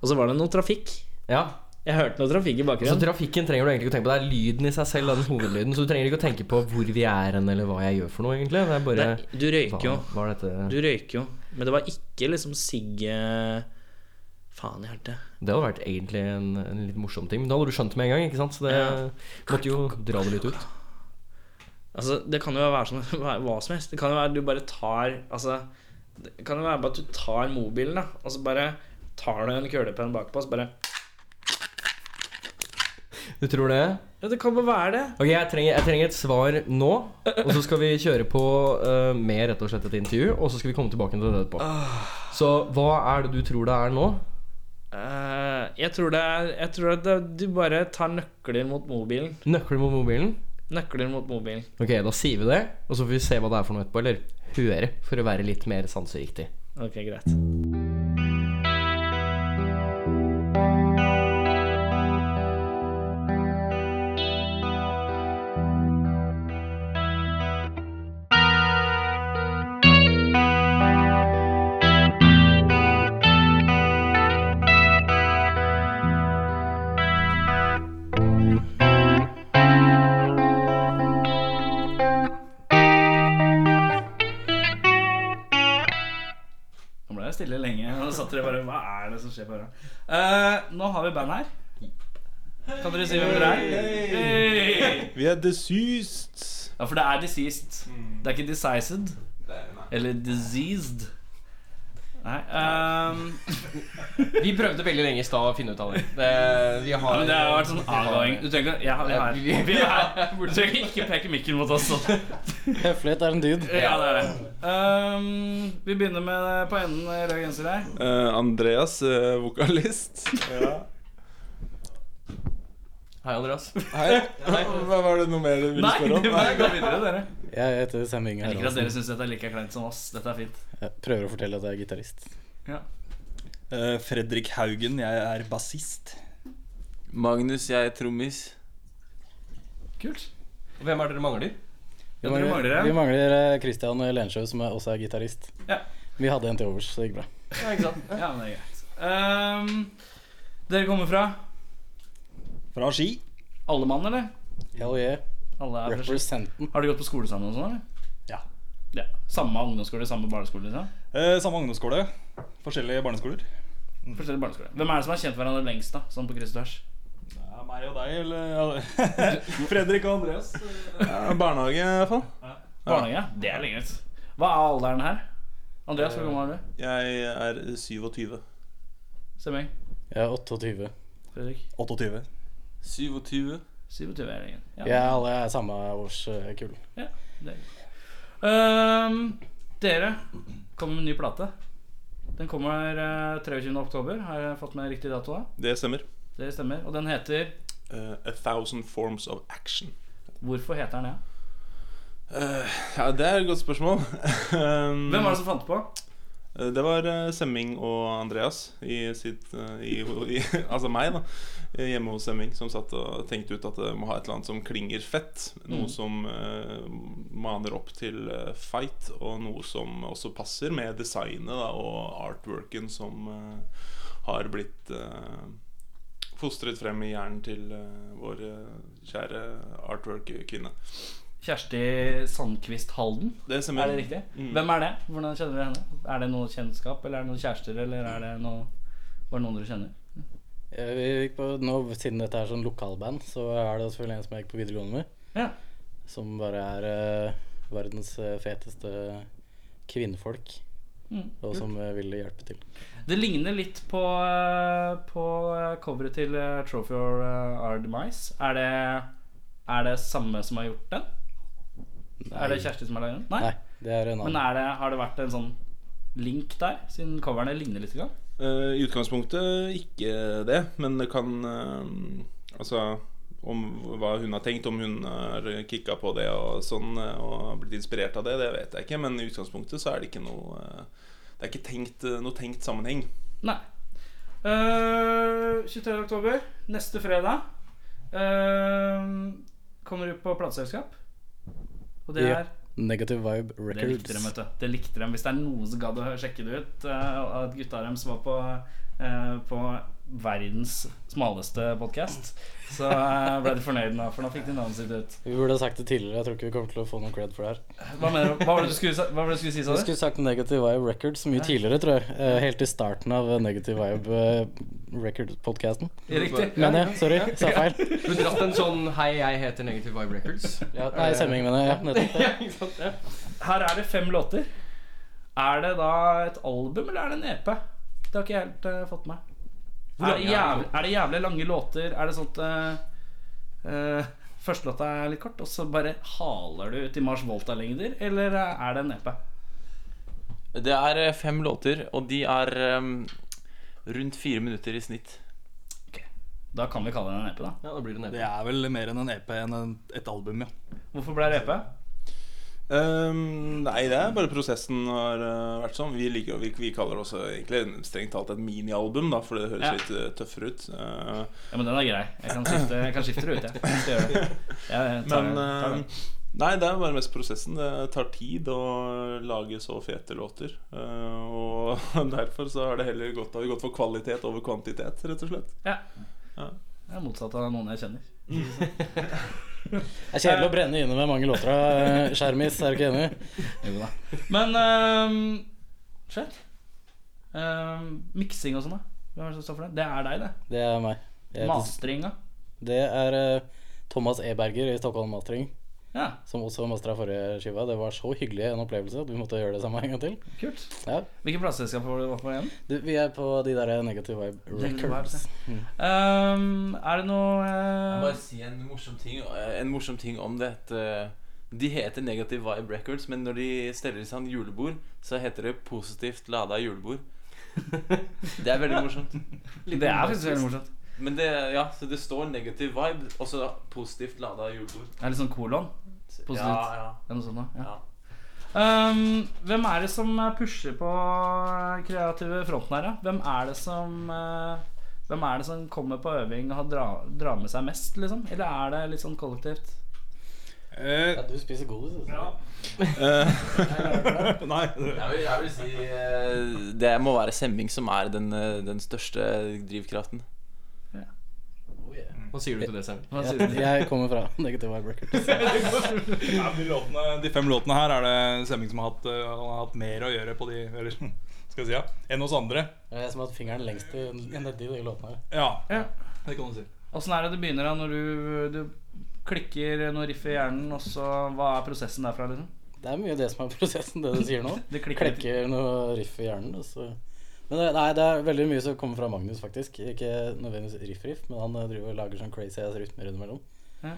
S2: Og så var det noe trafikk.
S3: Ja,
S2: Jeg hørte noe trafikk i
S3: Så
S2: bakgrunnen.
S3: trafikken trenger du egentlig ikke å tenke på. Det er lyden i seg selv, den hovedlyden. Så du trenger ikke å tenke på hvor vi er hen, eller hva jeg gjør for noe, egentlig. Det er bare
S2: Nei, du røyker jo.
S3: hva, hva er dette
S2: Du røyker jo. Men det var ikke liksom sigg eh, Faen i hjertet.
S3: Det hadde vært egentlig en, en litt morsom ting, men da hadde du skjønt det med en gang, ikke sant? Så det
S2: Ja.
S3: måtte jo dra det litt ut.
S2: Altså, det kan jo være sånn hva- hva som helst. Det kan jo være du bare tar Altså, det kan jo være bare at du tar mobilen, da, og så bare tar du en kølepenn bakpå, og så bare
S3: Du tror det?
S2: Ja, det kan bare være det.
S3: Ok, jeg trenger, jeg trenger et svar nå, og så skal vi kjøre på eh, med rett og slett et intervju, og så skal vi komme tilbake til det etterpå. Så hva er det du tror det er nå?
S2: Eh, jeg tror det er Jeg tror at det, du bare tar nøkler mot mobilen.
S3: Nøkler mot mobilen?
S2: Nøkler mot mobilen.
S3: Ok, da sier vi det, og så får vi se hva det er for noe etterpå, eller høre, for å være litt mer sanseriktig.
S2: Ok, greit. Nå ble jeg stille lenge. Og satt dere bare Hva er det som skjer på øra? Eh, nå har vi band her. Kan dere si hvem dere er? Hey!
S1: Vi er deceased.
S2: Ja, for det er deceased. Det er ikke decised. Eller diseased. Nei ehm,
S3: Vi prøvde veldig lenge i stad å finne ut av det. det vi
S2: ja,
S3: har,
S2: men Det har vært sånn avgåing. Du trenger ikke ja, vi er her. Vi er her. Du trenger ikke peke mikken mot oss. sånn.
S4: Høflighet er en dyd.
S2: Ja, det er det. Ehm, vi begynner med på enden eh, rød genser her.
S1: Eh, Andreas, eh, vokalist.
S3: Hei, Andreas.
S4: Hei. Hva var det noe mer du ville
S2: Nei,
S4: spørre om?
S2: det var gå videre, dere.
S4: Jeg heter Sam Inge
S2: Jeg liker at dere
S4: Haraldsen.
S2: syns dette er like kleint som oss. Dette er fint.
S4: Jeg prøver å fortelle at jeg er gitarist.
S5: Eh, Fredrik Haugen, jeg er bassist.
S6: Magnus, jeg er trommis.
S2: Kult.
S3: Hvem er dere mangler?
S4: Vi
S2: Ja, dere mangler
S4: mangler,
S2: en.
S4: vi mangler eh, Christian Lensjø, som er- også er gitarist.
S2: Ja.
S4: Vi hadde en til overs, så det gikk bra.
S2: Ja, ikke sant? Ja, men det er greit. Ehm, dere kommer fra
S5: Fra Ski.
S2: alle mann, eller?
S4: Hell yeah.
S2: Alle er fra Ski.
S4: Representen.
S2: Har de gått på skole sammen og sånn, eller?
S4: Ja.
S2: ja. Samme ungdomsskole, samme barneskole, liksom?
S5: Eh, samme ungdomsskole. Forskjellige barneskoler.
S2: Forskjellig barneskole. Hvem er det som har kjent hverandre lengst, da? Sånn på kryss og tvers?
S5: Det er meg og deg, eller Fredrik og Andreas.
S6: Ja, barnehage, i hvert fall.
S2: Barnehage? Det er lenge ut. Hva er alderen her? Andreas, hvor gammel er du?
S6: Jeg er 27.
S2: Semming?
S4: Jeg er 28.
S2: Fredrik?
S5: 28.
S6: 27.
S2: 27 er det ingen.
S4: Jeg er alle er samme eh, årskull.
S2: Ehm, dere kommer med en ny plate. Den kommer eh, 23. oktober. Har jeg fått med riktig dato? da?
S6: Det stemmer.
S2: Det stemmer. Og den heter
S6: Eh, a thousand forms of action.
S2: Hvorfor heter den det?
S6: Eh, ja, det er et godt spørsmål. Um,
S2: Hvem var det som fant på?
S6: Eh, Det var eh, Semming og Andreas, i sitt, eh, i, i, altså meg, da, eh, hjemme hos Semming, som satt og tenkte ut at det må ha et eller annet som klinger fett. Noe
S2: Mm.
S6: som eh, maner opp til eh, fight, og noe som også passer med designet da, og artworken som eh, har blitt eh, fostret frem i hjernen til eh, vår eh, kjære artwork-kvinne.
S2: Kjersti Sandquist Halden.
S6: Det stemmer.
S2: Er det riktig?
S6: Mm.
S2: Hvem er det? Hvordan kjenner dere henne? Er det noe kjennskap, eller er det noen kjærester, eller er det noe Var det noen dere kjenner?
S4: Eh, Vi gikk på, nå, siden dette er sånn lokalband, så er det selvfølgelig en som jeg gikk på videregående med.
S2: Ja.
S4: Som bare er eh, verdens eh, feteste kvinnfolk,
S2: Mm,
S4: og som eh, ville hjelpe til.
S2: Det ligner litt på, eh, på eh, coveret til eh, Trophy or eh, Our Demise. Er det, er det samme som har gjort den? Er det Kjersti som har laget den? Nei.
S4: Nei, det er en
S2: Men
S4: annen.
S2: er det, har det vært en sånn link der, siden coverne ligner litt? Grann?
S6: Eh, I utgangspunktet ikke det, men det kan eh, Altså om hva hun har tenkt, om hun har kicka på det og sånn eh, og blitt inspirert av det, det vet jeg ikke. Men i utgangspunktet så er det ikke noe eh, Det er ikke tenkt, eh, noe tenkt sammenheng.
S2: Nei. Eh, 23. oktober, neste fredag, eh, kommer du på plateselskap. Og det
S4: Ja.
S2: er
S4: Negative Vibe
S2: Det likte dem,
S4: Records.
S2: vet du. Det likte dem. Hvis det er noen som gadd å hø- sjekke det ut, eh, at gutta deres var på, eh, på verdens smaleste podkast, så eh, ble de fornøyd nå, for nå fikk de navnet sitt ut.
S4: Vi burde ha sagt det tidligere. Jeg tror ikke vi kommer til å få noen cred for det her.
S2: Hva mener du? Hva var det du skulle, sa- hva var det du skulle si, sa
S4: Vi
S2: du?
S4: skulle sagt Negative Vibe Records mye tidligere, tror jeg. Eh, Helt i starten av eh, Negative Vibe eh, Records-podkasten.
S2: Riktig.
S4: Mener jeg. Sorry, sa feil.
S3: Du dratt en sånn 'Hei, jeg heter Negative Vibe Records'.
S4: Ja, nei, Semming, mener jeg. Ja, nettopp.
S2: Her er det fem låter. Er det da et album, eller er det en EP? Det har ikke jeg helt eh, fått med. Er det, jævlig, er det jævlig lange låter? Er det sånn at eh, eh, første låta er litt kort, og så bare haler du ut i Mars Volta-lengder? Eller eh, er det en EP?
S7: Det er eh, fem låter, og de er ehm, rundt fire minutter i snitt.
S2: Da kan vi kalle det en EP, da.
S3: Ja, da blir det
S5: Det
S3: nede.
S5: er vel mer enn en EP enn en- et album, ja.
S2: Hvorfor ble
S6: E
S2: det EP?
S6: Ehm, nei, det er bare prosessen har eh, vært sånn. Vi, liker, vi, vi kaller det også egentlig strengt talt et minialbum, da, for det høres
S2: Ja.
S6: litt eh, tøffere ut. Eh,
S2: Ja, men den er grei. Jeg kan skifte, jeg kan skifte det ut, jeg. jeg. Skal gjøre det. Jeg tar,
S6: Men
S2: tar den.
S6: eh, Nei, det er bare mest prosessen. Det tar tid å lage så fete låter. eh, og derfor så har det heller gått, har vi gått for kvalitet over kvantitet, rett og slett.
S2: Ja.
S6: Ja.
S2: Jeg er motsatt av noen jeg kjenner.
S4: Det er kjedelig å brenne inne med mange låter av Skjermis, er du ikke enig?
S2: Jo da. Men ehm, Skjell? Ehm, Miksing og sånn, da? Hvem er det som står for det? Det er deg, det.
S4: Det er meg. Jeg heter,
S2: Masteringa.
S4: det er eh, Thomas Eberger i Stockholm Mastering,
S2: Ja,
S4: som også mastra forrige skiva. Det var så hyggelig en opplevelse at vi måtte gjøre det samme en gang til.
S2: kult.
S4: Ja.
S2: Hvilket plateselskap var det du var på igjen?
S4: Du, vi er på de der Negative Vibe Records.
S2: Ehm, er det noe eh,
S7: Jeg må bare si en morsom ting, eh, en morsom ting om det. At, eh, de heter Negative Vibe Records, men når de steller seg en julebord, så heter det Positivt lada julebord. Det er veldig morsomt.
S2: Det er faktisk veldig morsomt.
S7: Men det, ja, så det står Negative Vibe, og så positivt lada julebord.
S2: Det er litt sånn kolon. Positivt.
S8: Ja, ja.
S2: Det er noe sånt, da. ja. Um, hvem er det som pusher på eh, kreative fronten her, da? Hvem er det som eh, Hvem er det som kommer på øving og har dra, drar med seg mest, liksom? Eller er det litt sånn kollektivt?
S4: Ja, du spiser godis. altså.
S6: Nei.
S8: Jeg vil, jeg vil si eh, det må være Semming som er den, eh, den største drivkraften.
S3: Hva sier du til det, Sam?
S2: Hva sier
S4: Jeg, jeg kommer fra Negative Vibe Records.
S6: Ja, de, låtene, de fem låtene her er det Semming som har hatt, eh, han har hatt mer å gjøre på de Eller skal jeg si ja enn oss andre.
S4: Det er jeg som har hatt fingeren lengst i nedi de låtene her.
S6: Ja,
S2: Ja.
S6: det kan du si.
S2: Åssen er det det begynner da når du, du klikker noe riff i hjernen, og så Hva er prosessen derfra, liksom?
S4: Det er mye det som er prosessen, det du sier nå.
S2: Det klikker litt.
S4: Klekker noe riff i hjernen. Og så. Men det, nei, det er veldig mye som kommer fra Magnus, faktisk. Ikke nødvendigvis riff-riff, men han eh, driver og lager sånn crazy ass rytmer innimellom.
S2: Ja.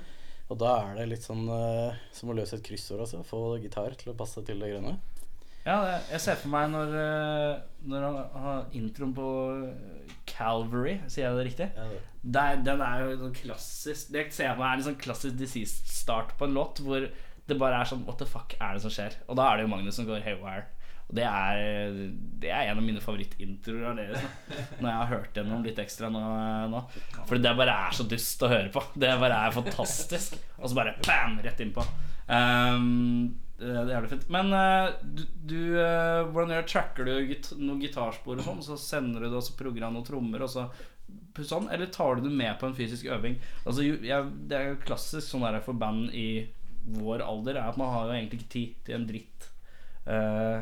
S4: Og da er det litt sånn eh, som å løse et kryssord, altså. Få gitar til å passe til det grønne.
S2: Ja, det- jeg ser for meg når, eh, når han har introen på Calvary, sier jeg det riktig?
S4: Ja, det.
S2: det er, den er jo sånn klassisk Det ser jeg på er en sånn klassisk disease-start på en låt hvor det bare er sånn What the fuck er det som skjer? Og da er det jo Magnus som går haywire. Og det er, det er en av mine favorittintroer av deres. da. Når jeg har hørt gjennom litt ekstra nå, nå. For det bare er så dust å høre på. Det bare er fantastisk. Og så bare bam! Rett innpå. Um, det er jævlig fint. Men eh, du, du eh, hvordan gjør tracker du git noen gitarspor og sånn? Så sender du det, og så plugger han noen trommer, og så sånn, eller tar du det med på en fysisk øving? Altså, jo- jeg, det er jo klassisk sånn der for band i vår alder, er at man har jo egentlig ikke tid til en dritt. Eh,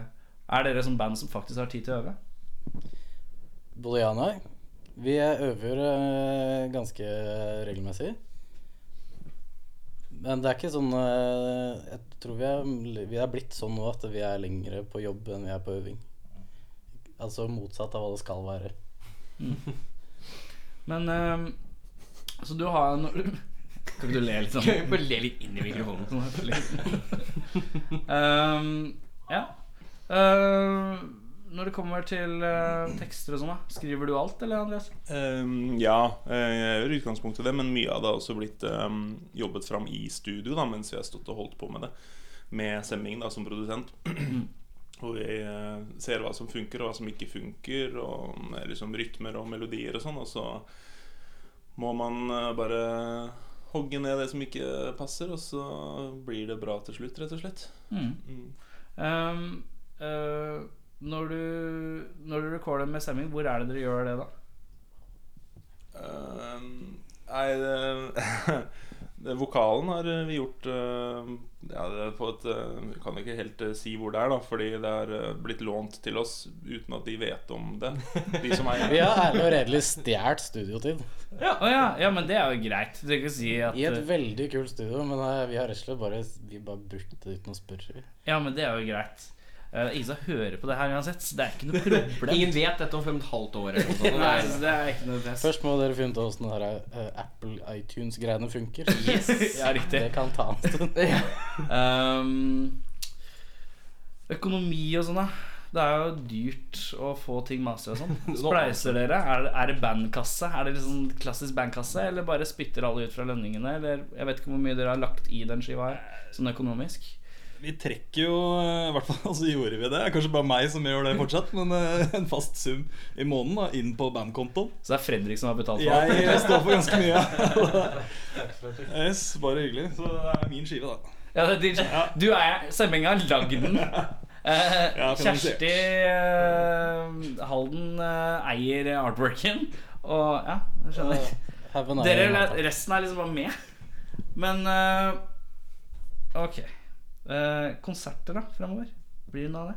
S2: er dere sånn band som faktisk har tid til å øve?
S4: Både ja og nei. Vi øver eh, ganske regelmessig. Men det er ikke sånn eh, Jeg tror vi er, vi er blitt sånn nå at vi er lengre på jobb enn vi er på øving. Altså motsatt av hva det skal være.
S2: Men eh, Så du har en Kan ikke du le litt sånn?
S3: Jeg bare le litt inn i mikrofonen.
S2: Sånn her, litt. Ehm, ja. Ehm, når det kommer til eh, tekster og sånn, da, skriver du alt, eller, Andreas?
S6: Ehm, ja, eh, jeg gjør i utgangspunktet det, men mye av det har også blitt ehm, jobbet fram i studio da, mens vi har stått og holdt på med det. Med Semming da, som produsent. Og vi eh, ser hva som funker, og hva som ikke funker, og eh, liksom rytmer og melodier og sånn. Og så må man eh, bare hogge ned det som ikke passer, og så blir det bra til slutt, rett og slett.
S2: Mm.
S6: Mm.
S2: Ehm, eh, når du Når du recorder med stemming, hvor er det dere gjør det, da?
S6: Eh, Nei, det, det, vokalen har vi gjort eh, ja, det er på et, eh, Vi kan ikke helt eh, si hvor det er, da fordi det er eh, blitt lånt til oss uten at de vet om det. De som eier
S4: Vi har ærlig og redelig stjålet studiotid.
S2: Ja, å ja, ja, men det er jo greit. Du trenger ikke si at eh,
S4: I et veldig kult studio, men eh, vi har rett og slett bare, vi bare brukte det uten å spørre.
S2: Ja, men det er jo greit. Uh, Isa hører på det her uansett, så det er ikke noe problem.
S3: Ingen vet dette om fem og et halvt år. Eller noe sånt.
S2: Nei, så det er ikke noe press.
S4: Først må dere finne ut av åssen eh, Apple iTunes-greiene funker.
S2: Ja, riktig.
S4: Det kan ta en stund.
S2: Ehm, økonomi og sånn, da. Det er jo dyrt å få ting master og sånn. Spleiser dere? Er det, er det bandkasse? Er det liksom klassisk bandkasse, eller bare spytter alle ut fra lønningene? Eller jeg vet ikke hvor mye dere har lagt i den skiva her, sånn økonomisk.
S9: Vi trekker jo eh, I hvert fall så gjorde vi det. Det er Kanskje bare meg som gjør det fortsatt, men eh, en fast sum i måneden da, inn på bandkontoen.
S2: Så det er Fredrik som har betalt for det.
S9: Jeg eh, står for ganske mye. yes, bare hyggelig. Så det er min skive, da.
S2: Ja, det er din, Du er Semminga har lagd den. Eh,
S9: Ja, finansiert.
S2: Kjersti eh, Halden eh, eier artworken. Og ja, jeg skjønner.
S4: Have an
S2: Dere,
S4: iron
S2: eller-
S4: hat.
S2: resten er liksom bare med. Men eh, ok. Eh, konserter, da, fremover? Blir det noe av det?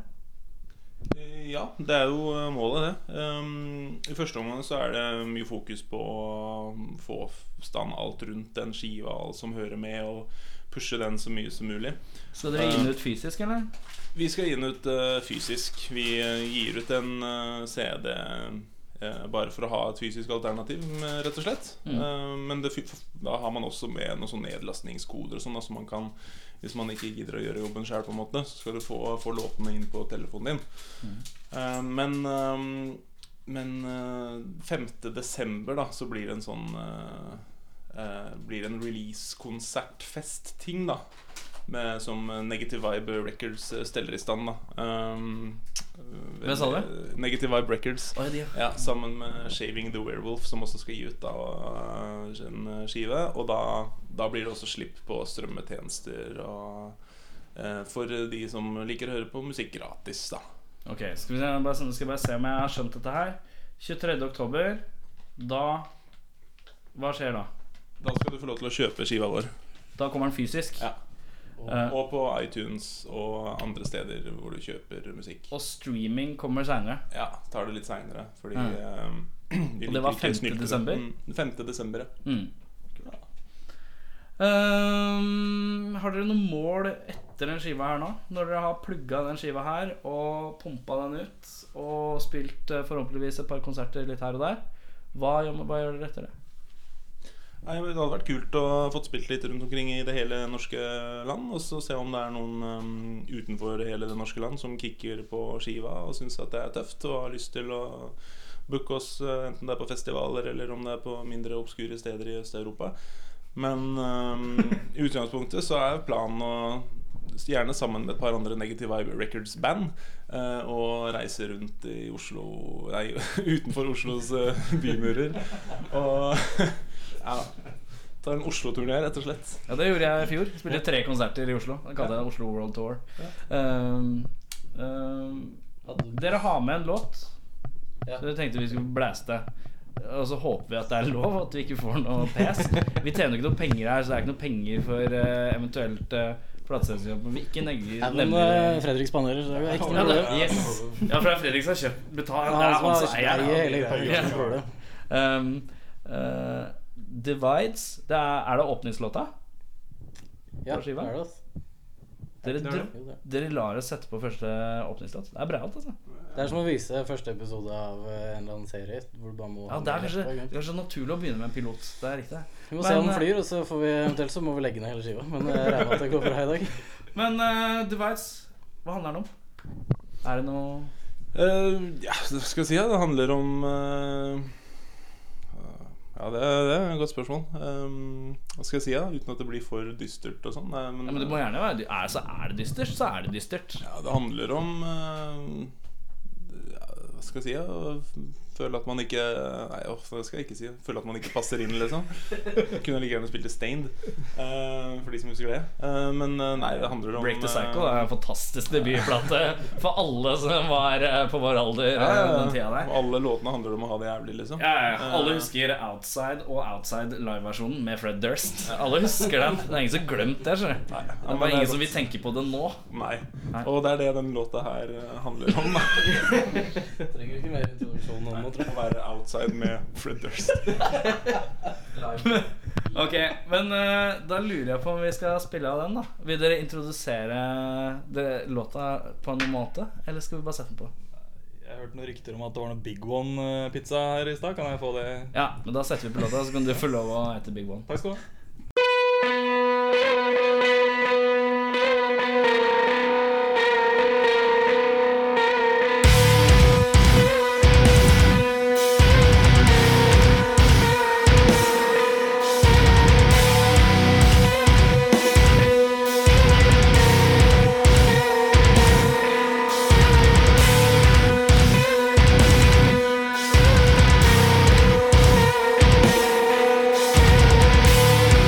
S6: Ja, det er jo eh, målet, det. Ehm, I første omgang så er det mye fokus på å få stand alt rundt den skiva, alt som hører med, og pushe den så mye som mulig.
S2: Skal dere gi den ut fysisk, eller?
S6: Vi skal gi den ut eh, fysisk. Vi eh, gir ut en eh, CD eh, bare for å ha et fysisk alternativ, eh, rett og slett. Eh, men det, fy- da har man også med noen sånne nedlastningskoder og sånn. da, så man kan, hvis man ikke gidder å gjøre jobben sjøl, så skal du få, få låtene inn på telefonen din. Eh, men eh, men eh, 5. desember da, så blir det en sånn eh, eh, Blir det en release-konsertfest-ting, da. med, som Negative Vibe Records eh, steller i stand. da um, eh,
S2: Hvem sa du?
S6: Negative Vibe Records.
S2: Oi, de, ja.
S6: Ja, sammen med Shaving the Werewolf, som også skal gi ut da eh, en skive. Og da, da blir det også slipp på strømmetjenester og eh, For de som liker å høre på musikk gratis, da.
S2: Ok, skal, vi se, bare, sånn, skal jeg bare se om jeg har skjønt dette her 23. oktober Da Hva skjer da?
S6: Da skal du få lov til å kjøpe skiva vår.
S2: Da kommer den fysisk
S6: Ja.
S2: Eh,
S6: Og på iTunes og andre steder hvor du kjøper musikk.
S2: Og streaming kommer senere
S6: Ja, tar det litt seinere, fordi
S2: Ja.
S6: eh, de
S2: Mm. Og det
S6: liker
S2: var
S6: ikke
S2: 5.
S6: snyltere.
S2: desember?
S6: Mm, 5. desember, ja.
S2: mm. Ehm, Har dere noen mål etter den skiva her nå? Når dere har plugget den skiva her Og pumpa den ut Og spilt eh, forhåpentligvis et par konserter litt her og der Hva gjør, hva gjør dere etter det?
S6: Nei, men Det hadde vært kult å fått spilt litt rundt omkring i det hele norske land. Og så se om det er noen eh, utenfor hele det norske land som kicker på skiva og syns at det er tøft og har lyst til å booke oss eh, enten det er på festivaler eller om det er på mindre obskure steder i Øst-Europa. Men eh, i utgangspunktet så er planen å Gjerne sammen med et par andre Negative Vibe Records-band. eh, og reise rundt i Oslo Nei, utenfor Oslos eh, bymurer. Og ja, ta en Oslo-turné, rett og slett.
S2: Ja, det gjorde jeg i fjor. Spilte tre konserter i Oslo. Den kalte jeg Oslo World Tour. Ehm, ehm, dere har med en låt.
S4: Ja.
S2: Så jeg tenkte vi skulle blæste. Og så håper vi at det er lov, at vi ikke får noe pes. Vi tjener jo ikke noe penger her, så det er ikke noe penger for eh, eventuelt uh, plateselskap. Men vi ikke negger,
S4: Ja, men eh,
S2: nevner
S4: Fredrik spanderer, så det er ikke
S2: ja,
S4: noe
S2: det,
S4: problem.
S2: yes. ja, for det er Fredrik som har kjøpt betalt. Det
S4: Han
S2: er han
S4: som
S2: som
S4: er
S2: eier
S4: eier
S2: det.
S4: hele
S2: Ja.
S4: greia. ikke noe problem.
S2: Ehm, eh, Divides. Det er, er det åpningslåta? På
S4: Ja, det
S2: skiva?
S4: er det, altså.
S2: Dere, dro-
S4: Jo, det er det.
S2: Dere lar oss sette på første åpningslåt. Det er brealt, altså.
S4: Det er som å vise første episode av eh, en eller annen serie. Hvor du bare må
S2: Ja, det er kanskje, det er kanskje naturlig å begynne med en pilot. Det er riktig.
S4: Vi må se om
S2: Men,
S4: den
S2: eh,
S4: flyr, og så får vi eventuelt så må vi legge ned hele skiva. Men eh, jeg regner med at det går bra i dag.
S2: Men uh, Divides, hva handler den om? Er det noe
S6: Eh, ja, hva skal jeg si? ja, Det handler om eh, Ja, det, det er et godt spørsmål. Eh, hva skal jeg si, ja? Uten at det blir for dystert og sånn. Nei, men-
S2: ja, men Det må gjerne være dy- er, så er det dystert, så er det dystert.
S6: Ja, det handler om eh, ja, Hva skal jeg si? ja, Å f- føle at man ikke Nei, åh, det skal jeg ikke si. Føle at man ikke passer inn, liksom. Kunne like gjerne spilt i Stained, eh, for de som husker det. Eh, men eh, nei, det handler om
S2: Break the Cycle
S6: eh,
S2: er en fantastisk debutplate for alle som var eh, på vår alder
S6: ja,
S2: eh,
S6: ja,
S2: den tida der.
S6: Og alle låtene handler om å ha det jævlig, liksom.
S2: Ja, ja, ja. Alle husker Outside og Outside live-versjonen med Fred Durst. Alle husker den. Det er ingen som har glemt det. skjønner du.
S6: ja,
S2: Det er
S6: men
S2: bare
S6: det er
S2: ingen som
S6: godt.
S2: vil tenke på det nå.
S6: Nei.
S2: Nei.
S6: Og det er det den låta her eh, handler om. da.
S4: Trenger ikke mer introduksjon om det, tror jeg.
S6: Å være outside med Fred Durst.
S2: Ok, men eh, da lurer jeg på om vi skal spille av den, da. Vil dere introdusere dere låta på noen måte, eller skal vi bare sette den på?
S10: Jeg hørte noen rykter om at det var noe Big One-pizza her i stad. Kan jeg få det?
S2: Ja, men da setter vi på låta, så kan du få lov å hete Big One.
S10: Takk skal du ha.
S6: Big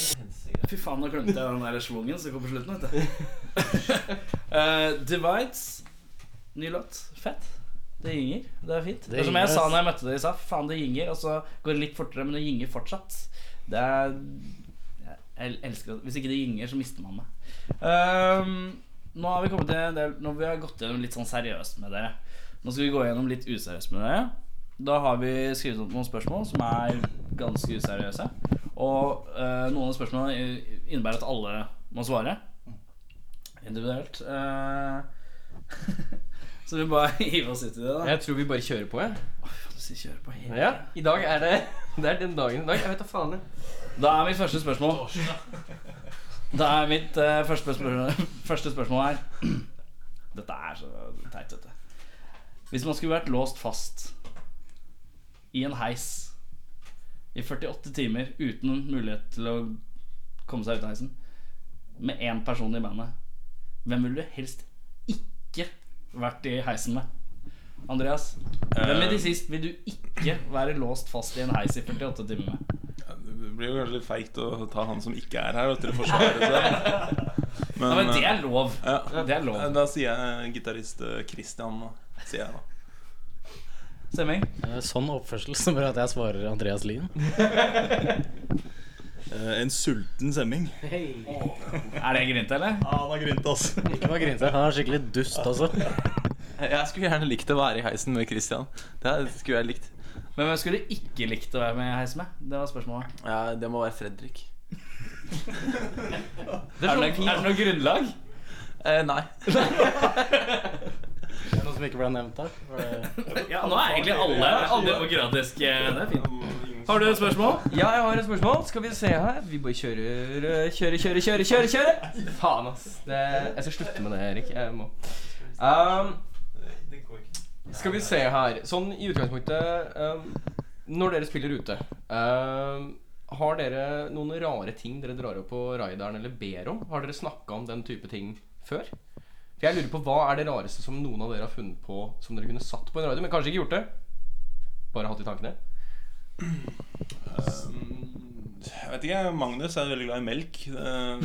S2: glemte jeg den der schwungen som kom på slutten. Vet du. Eh, Divides. Ny låt. Fett. Det gynger. Det er fint. Det, er som jeg
S4: gynger,
S2: sa
S4: ass.
S2: når jeg møtte dere i SAF. Faen, det gynger. Og så går det litt fortere, men det gynger fortsatt. Det er Jeg elsker det. Hvis ikke det gynger, så mister man meg. Ehm, nå har vi kommet til en del Nå har vi har gått gjennom litt sånn seriøst med dere. Nå skal vi gå gjennom litt useriøst med dere. Da har vi skrevet opp noen spørsmål som er ganske useriøse. Og eh, noen av spørsmålene innebærer at alle må svare individuelt. Eh, så vi bare hiver oss ut i det, da.
S3: Jeg tror vi bare kjører på, jeg.
S2: Så kjører på helt.
S3: Ja, i dag er det Det er den dagen i dag. Jeg vet da faen. jeg.
S2: Da er mitt første spørsmål. Da er mitt eh, første, spørsmål, første spørsmål her Dette er så teit, vet du. Hvis man skulle vært låst fast i en heis i 48 timer uten mulighet til å komme seg ut av heisen med én person i bandet, hvem ville du helst ikke vært i heisen med? Andreas, hvem i de sist vil du ikke være låst fast i en heis i 48 timer med?
S6: Det blir jo kanskje litt feigt å ta han som ikke er her, og til å forsvare seg.
S2: Ja, men det
S6: eh,
S2: er lov.
S6: ja.
S2: Det er lov.
S6: Da sier jeg eh, gitarist eh, Christian, da. Sier jeg da.
S2: Stemming?
S4: Eh, Sånn oppførsel som gjør at jeg svarer Andreas Lien.
S5: Eh, en sulten semming.
S2: Er det grint, eller?
S5: Ah, han har grynt, ass.
S4: Ikke bare grinte, han er skikkelig dust, altså.
S11: Jeg skulle gjerne likt å være i heisen med Christian. Det skulle jeg likt.
S2: Men hvem skulle du ikke likt å være med i heis med? Det var spørsmålet.
S11: Ja, det må være Fredrik.
S2: Er sånn- det, noe- er det noe grunnlag?
S11: Eh, nei.
S4: Det er Noe som ikke ble nevnt her. Var det-
S2: Ja, nå er egentlig alle Alle eh, demokratiske Det er fint. Har du et spørsmål?
S3: Ja, jeg har et spørsmål. Skal vi se her. Vi bare kjører, eh, kjører, kjører, kjører. kjører, kjører. Faen, ass. Det, jeg skal slutte med det, Erik. Jeg må. Um, skal vi se her. Sånn i utgangspunktet um, Når dere spiller ute, um, har dere noen rare ting dere drar opp på rideren eller ber om? Har dere snakka om den type ting før? For jeg lurer på, Hva er det rareste som noen av dere har funnet på som dere kunne satt på en rider, men kanskje ikke gjort det? Bare hatt i tankene?
S6: Jeg vet ikke, Magnus er veldig glad i melk. Eh,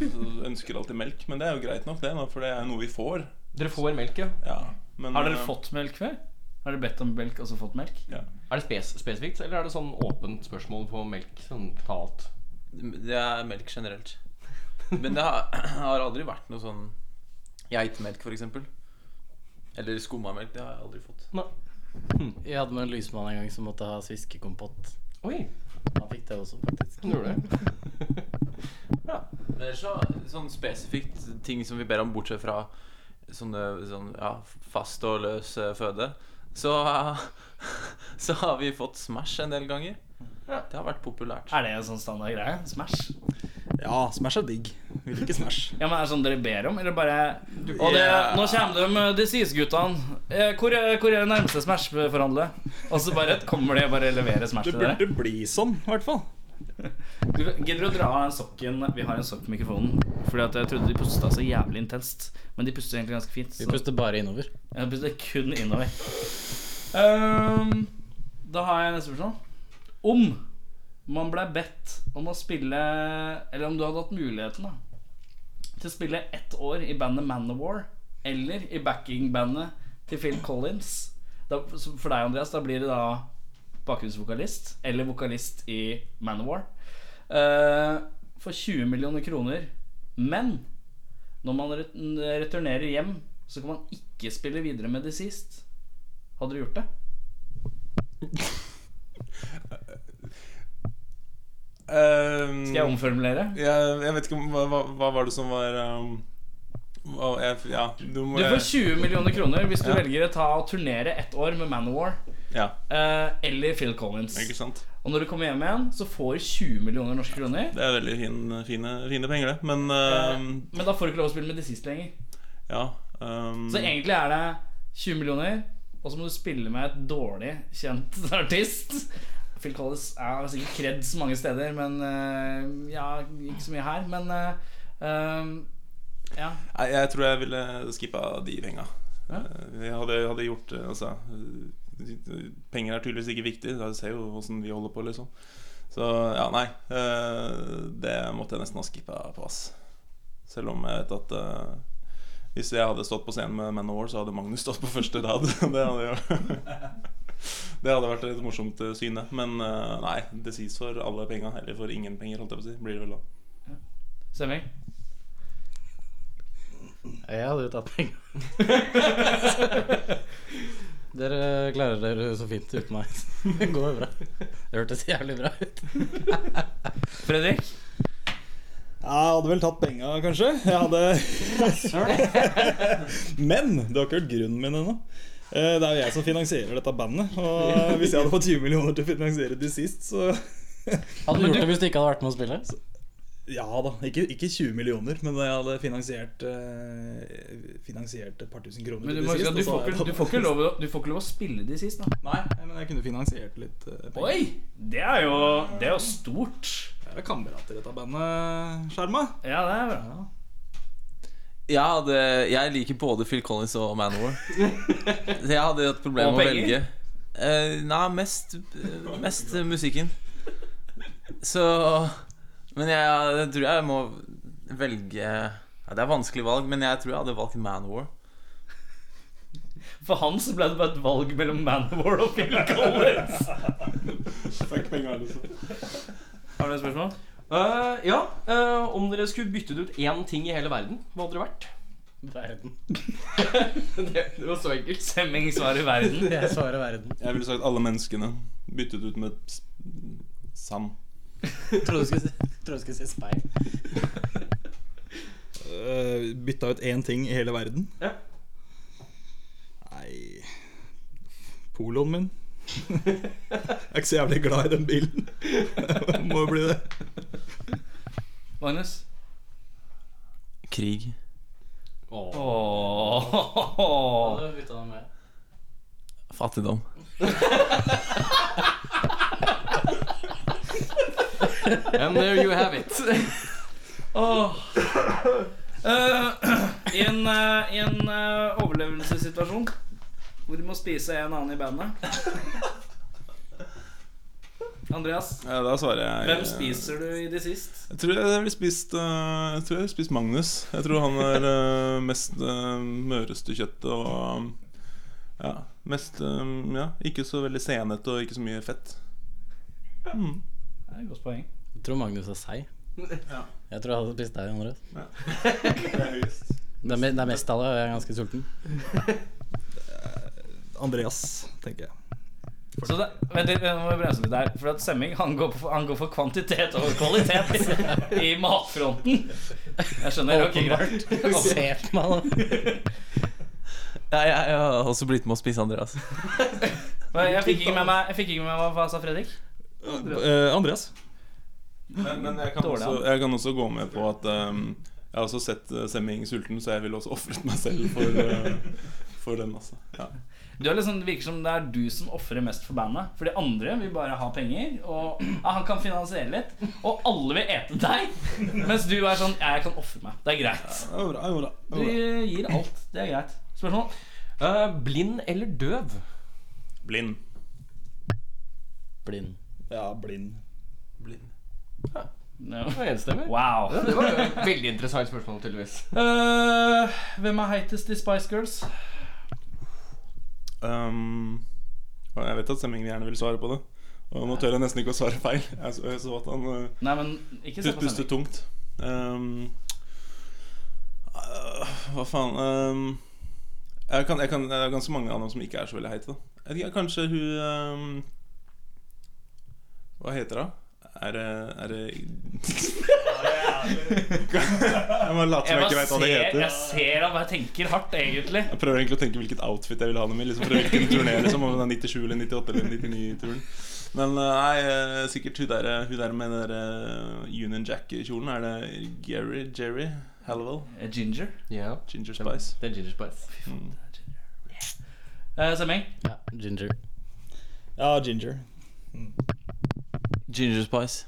S6: Jeg ønsker alltid melk, men det er jo greit nok, det, da, for det er noe vi får.
S3: Dere får melk, ja.
S6: Ja, men,
S2: Har dere
S6: eh,
S2: fått melk før? Har dere bedt om melk og så fått melk?
S3: Er det spes spesifikt, eller er det sånn åpent spørsmål på melk? Sånn talt
S11: Det er melk generelt. Men det har, har aldri vært noe sånn geitemelk, f.eks. Eller skummamelk. Det har jeg aldri fått.
S4: Jeg hadde med en lysmann en gang som måtte ha sviskekompott.
S3: Oi,
S4: Han fikk det også, faktisk.
S3: han gjorde det.
S11: Men ellers så, sånn spesifikt ting som vi ber om, bortsett fra sånne sånn, ja, fast og løs eh, føde, så, så har vi fått Smash en del ganger. Det har vært populært.
S2: Er det en sånn standard greie? Smash?
S5: Ja, Smash er digg. Vil ikke Smash.
S2: Ja, men Er det sånn dere ber om, eller bare Og det, nå kommer de, de sies guttene. Eh, Hvor, er- hvor er det nærmeste Smash-forhandlet? Og så bare kommer de og bare leverer Smash
S5: Det
S2: til dere?
S5: burde bli sånn, i hvert fall.
S2: Du Gidder du å dra av den sokken Vi har en sokk på mikrofonen. Fordi at jeg trodde de pusta så jævlig intenst. Men de puster egentlig ganske fint.
S4: Vi
S2: Så
S4: puster bare innover.
S2: jeg puster kun innover. Ehm, da har jeg neste spørsmål. Om man ble bedt om å spille Eller om du hadde hatt muligheten da til å spille ett år i bandet Manowar eller i backingbandet til Phil Collins da, så For deg, Andreas, da blir det da bakgrunnsvokalist eller vokalist i Manowar. Eh, for 20 millioner kroner. Men når man ret- returnerer hjem, så kan man ikke spille videre med det sist. Hadde du gjort det?
S6: ehm,
S2: Skal jeg omformulere?
S6: jeg, jeg vet ikke om- hva, hva, hva var det som var ehm, hva, jeg, Ja, du må
S2: Du får 20 millioner kroner hvis du
S6: Ja.
S2: velger å ta og turnere ett år med Manowar
S6: Ja,
S2: eh, eller Phil Collins.
S6: ikke sant?
S2: Og når du kommer hjem igjen, så får du 20 millioner norske kroner.
S6: Det er veldig fin, fine, fine penger, det. Men ehm,
S2: Men da får du ikke lov å spille med det sist lenger.
S6: ja ehm,
S2: Så egentlig er det 20 millioner, og så må du spille med et dårlig kjent artist. Phil Collins er sikkert kreds mange steder, men eh, ja, ikke så mye her. Men eh, eh, ja.
S6: Nei, jeg tror jeg ville skippa de penga. Eh, Jeg hadde, hadde gjort eh, det, altså. Penger er tydeligvis ikke viktig. Jeg ser jo åssen vi holder på, liksom. Så ja, nei. eh, Det måtte jeg nesten ha skippa på, ass. Selv om jeg vet at eh, hvis jeg hadde stått på scenen med Manowar, så hadde Magnus stått på første rad. Det hadde jo Det hadde vært et morsomt eh, syne. Men eh, nei, det sies for alle penga. Eller for ingen penger, holdt jeg på å si. Blir det vel da.
S2: Stemning?
S4: Jeg hadde jo tatt penger. dere klarer dere så fint uten meg. Det går bra. Det hørtes jævlig bra ut.
S2: Fredrik?
S12: Jeg hadde vel tatt penga, kanskje. Jeg hadde Men det har ikke hørt grunnen min ennå. Eh, Det er jo jeg som finansierer dette bandet. Og hvis jeg hadde fått 20 millioner til å finansiere de sist, så
S4: Hadde du gjort det hvis du ikke hadde vært med å spille?
S12: Ja da. Ikke, ikke 20 millioner, men jeg hadde finansiert eh, Finansiert et par tusen kroner
S2: Men du,
S12: til
S2: må,
S12: de
S2: huske at
S12: sist.
S2: du,
S12: og så
S2: får
S12: hadde jeg
S2: ikke, du,
S12: tatt-
S2: får ikke lov, å- du får ikke lov å spille de sist, da.
S12: Nei, men jeg kunne finansiert litt eh, penger.
S2: Oi! Det er jo, det er jo stort.
S12: Jeg er kamerater i dette bandet, Skjerma.
S2: Ja, det er bra.
S5: Jeg, hadde, jeg liker både Phil Collins og Manowar. Så jeg hadde hatt problemer
S2: Og
S5: med å
S2: penger?
S5: velge. Eh, nei, mest, eh, mest musikken. Så Men jeg, jeg tror jeg må velge ja, Det er vanskelig valg, men jeg tror jeg hadde valgt Manowar.
S2: For han så ble det bare et valg mellom Manowar og Phil Collins.
S6: liksom.
S2: Har du et spørsmål?
S3: Eh, ja, eh, om dere skulle byttet ut én ting i hele verden, hva hadde det vært?
S4: Verden.
S3: det, det var så enkelt.
S2: Semming svarer verden.
S4: Jeg svarer verden.
S6: Jeg ville sagt alle menneskene. Byttet ut med s- sand.
S4: Trodde du skulle si, trodde du skulle si speil.
S12: Eh, bytta ut én ting i hele verden?
S3: Ja.
S12: Nei Poloen min. jeg er ikke så jævlig glad i den bilen. Må jo bli det.
S2: Magnus?
S5: Krig.
S2: Ååå.
S4: Hadde byttet den med.
S5: Fattigdom.
S3: And there you have it.
S2: I en, eh, i en eh, overlevelsessituasjon hvor du må spise en annen i bandet Andreas,
S6: Ja, da svarer jeg
S2: hvem spiser du i det sist?
S6: Jeg tror jeg ville spist eh, Jeg tror jeg ville spist Magnus. Jeg tror han er eh, mest eh, møreste kjøttet og um, Ja, mest um, Ja, ikke så veldig senete og ikke så mye fett.
S2: Det er et godt poeng.
S4: Jeg tror Magnus er seig. Jeg tror jeg hadde spist deg, Andreas. Det er, me- det er mest av det, og jeg er ganske sulten.
S12: Andreas, tenker jeg.
S2: Så det, vent litt, nå må vi bremse litt der. For at Semming han går, for, han går for kvantitet over kvalitet i matfronten. Jeg skjønner. Ok, greit.
S4: Se på meg, da.
S5: Ja, jeg, jeg har også blitt med å spise Andreas.
S2: Men Jeg fikk ikke med meg, jeg fikk ikke med meg hva sa Fredrik.
S12: Eh, Andreas.
S6: Men, men jeg, kan
S2: Dårlig,
S6: også, jeg kan også gå med på at um, Jeg har også sett eh, Semming sulten, så jeg ville også ofret meg selv for, eh, for den. Altså. Ja.
S2: Du er liksom, det virker som det er du som ofrer mest for bandet. For de andre vil bare ha penger. Og ja, han kan finansiere litt. Og alle vil ete deg. Mens du er sånn Ja, jeg kan ofre meg. Det er greit.
S12: Det var bra, det var bra, det
S2: Du
S12: var bra.
S2: gir alt. Det er greit. Spørsmål?
S3: Eh, blind eller døv?
S6: Blind.
S4: Blind.
S12: Ja, blind.
S2: No.
S3: Det var enstemmig.
S2: Wow.
S3: Ja, det var jo et veldig interessant spørsmål, tydeligvis.
S2: Eh, hvem er heitest i Spice Girls?
S6: Um, og jeg vet at Semming gjerne vil svare på det. Og nå tør jeg nesten ikke å svare feil. Jeg så, jeg så at han eh,
S2: Nei, men ikke se
S6: Pust,
S2: på
S6: puste
S2: sending.
S6: tungt. Ehm, øh, hva faen ehm, jeg kan, jeg kan, Det er ganske mange av dem som ikke er så veldig heite. da. Jeg vet ikke, Kanskje hun ehm, Hva heter hun? Er det Er det Jeg må late som jeg
S2: Jeg,
S6: ikke
S2: bare
S6: vet hva det
S2: ser, jeg
S6: heter.
S2: ser at jeg tenker hardt, egentlig.
S6: Jeg prøver egentlig å tenke hvilket outfit jeg vil ha dem i. Liksom fra hvilken turné liksom, Om det er 97 eller 98 eller 99-turen. Men eh, nei, eh, sikkert hun der, hun der med den der eh, Union Jack-kjolen. Er det Gary Jerry Hallowell?
S2: Eh, Ginger.
S3: Ja,
S6: Ginger Spice.
S3: det er Ginger Spice.
S6: Mm.
S2: Eh, Semming?
S4: Ja, ginger.
S12: Ja, Ginger.
S5: Ginger Spice.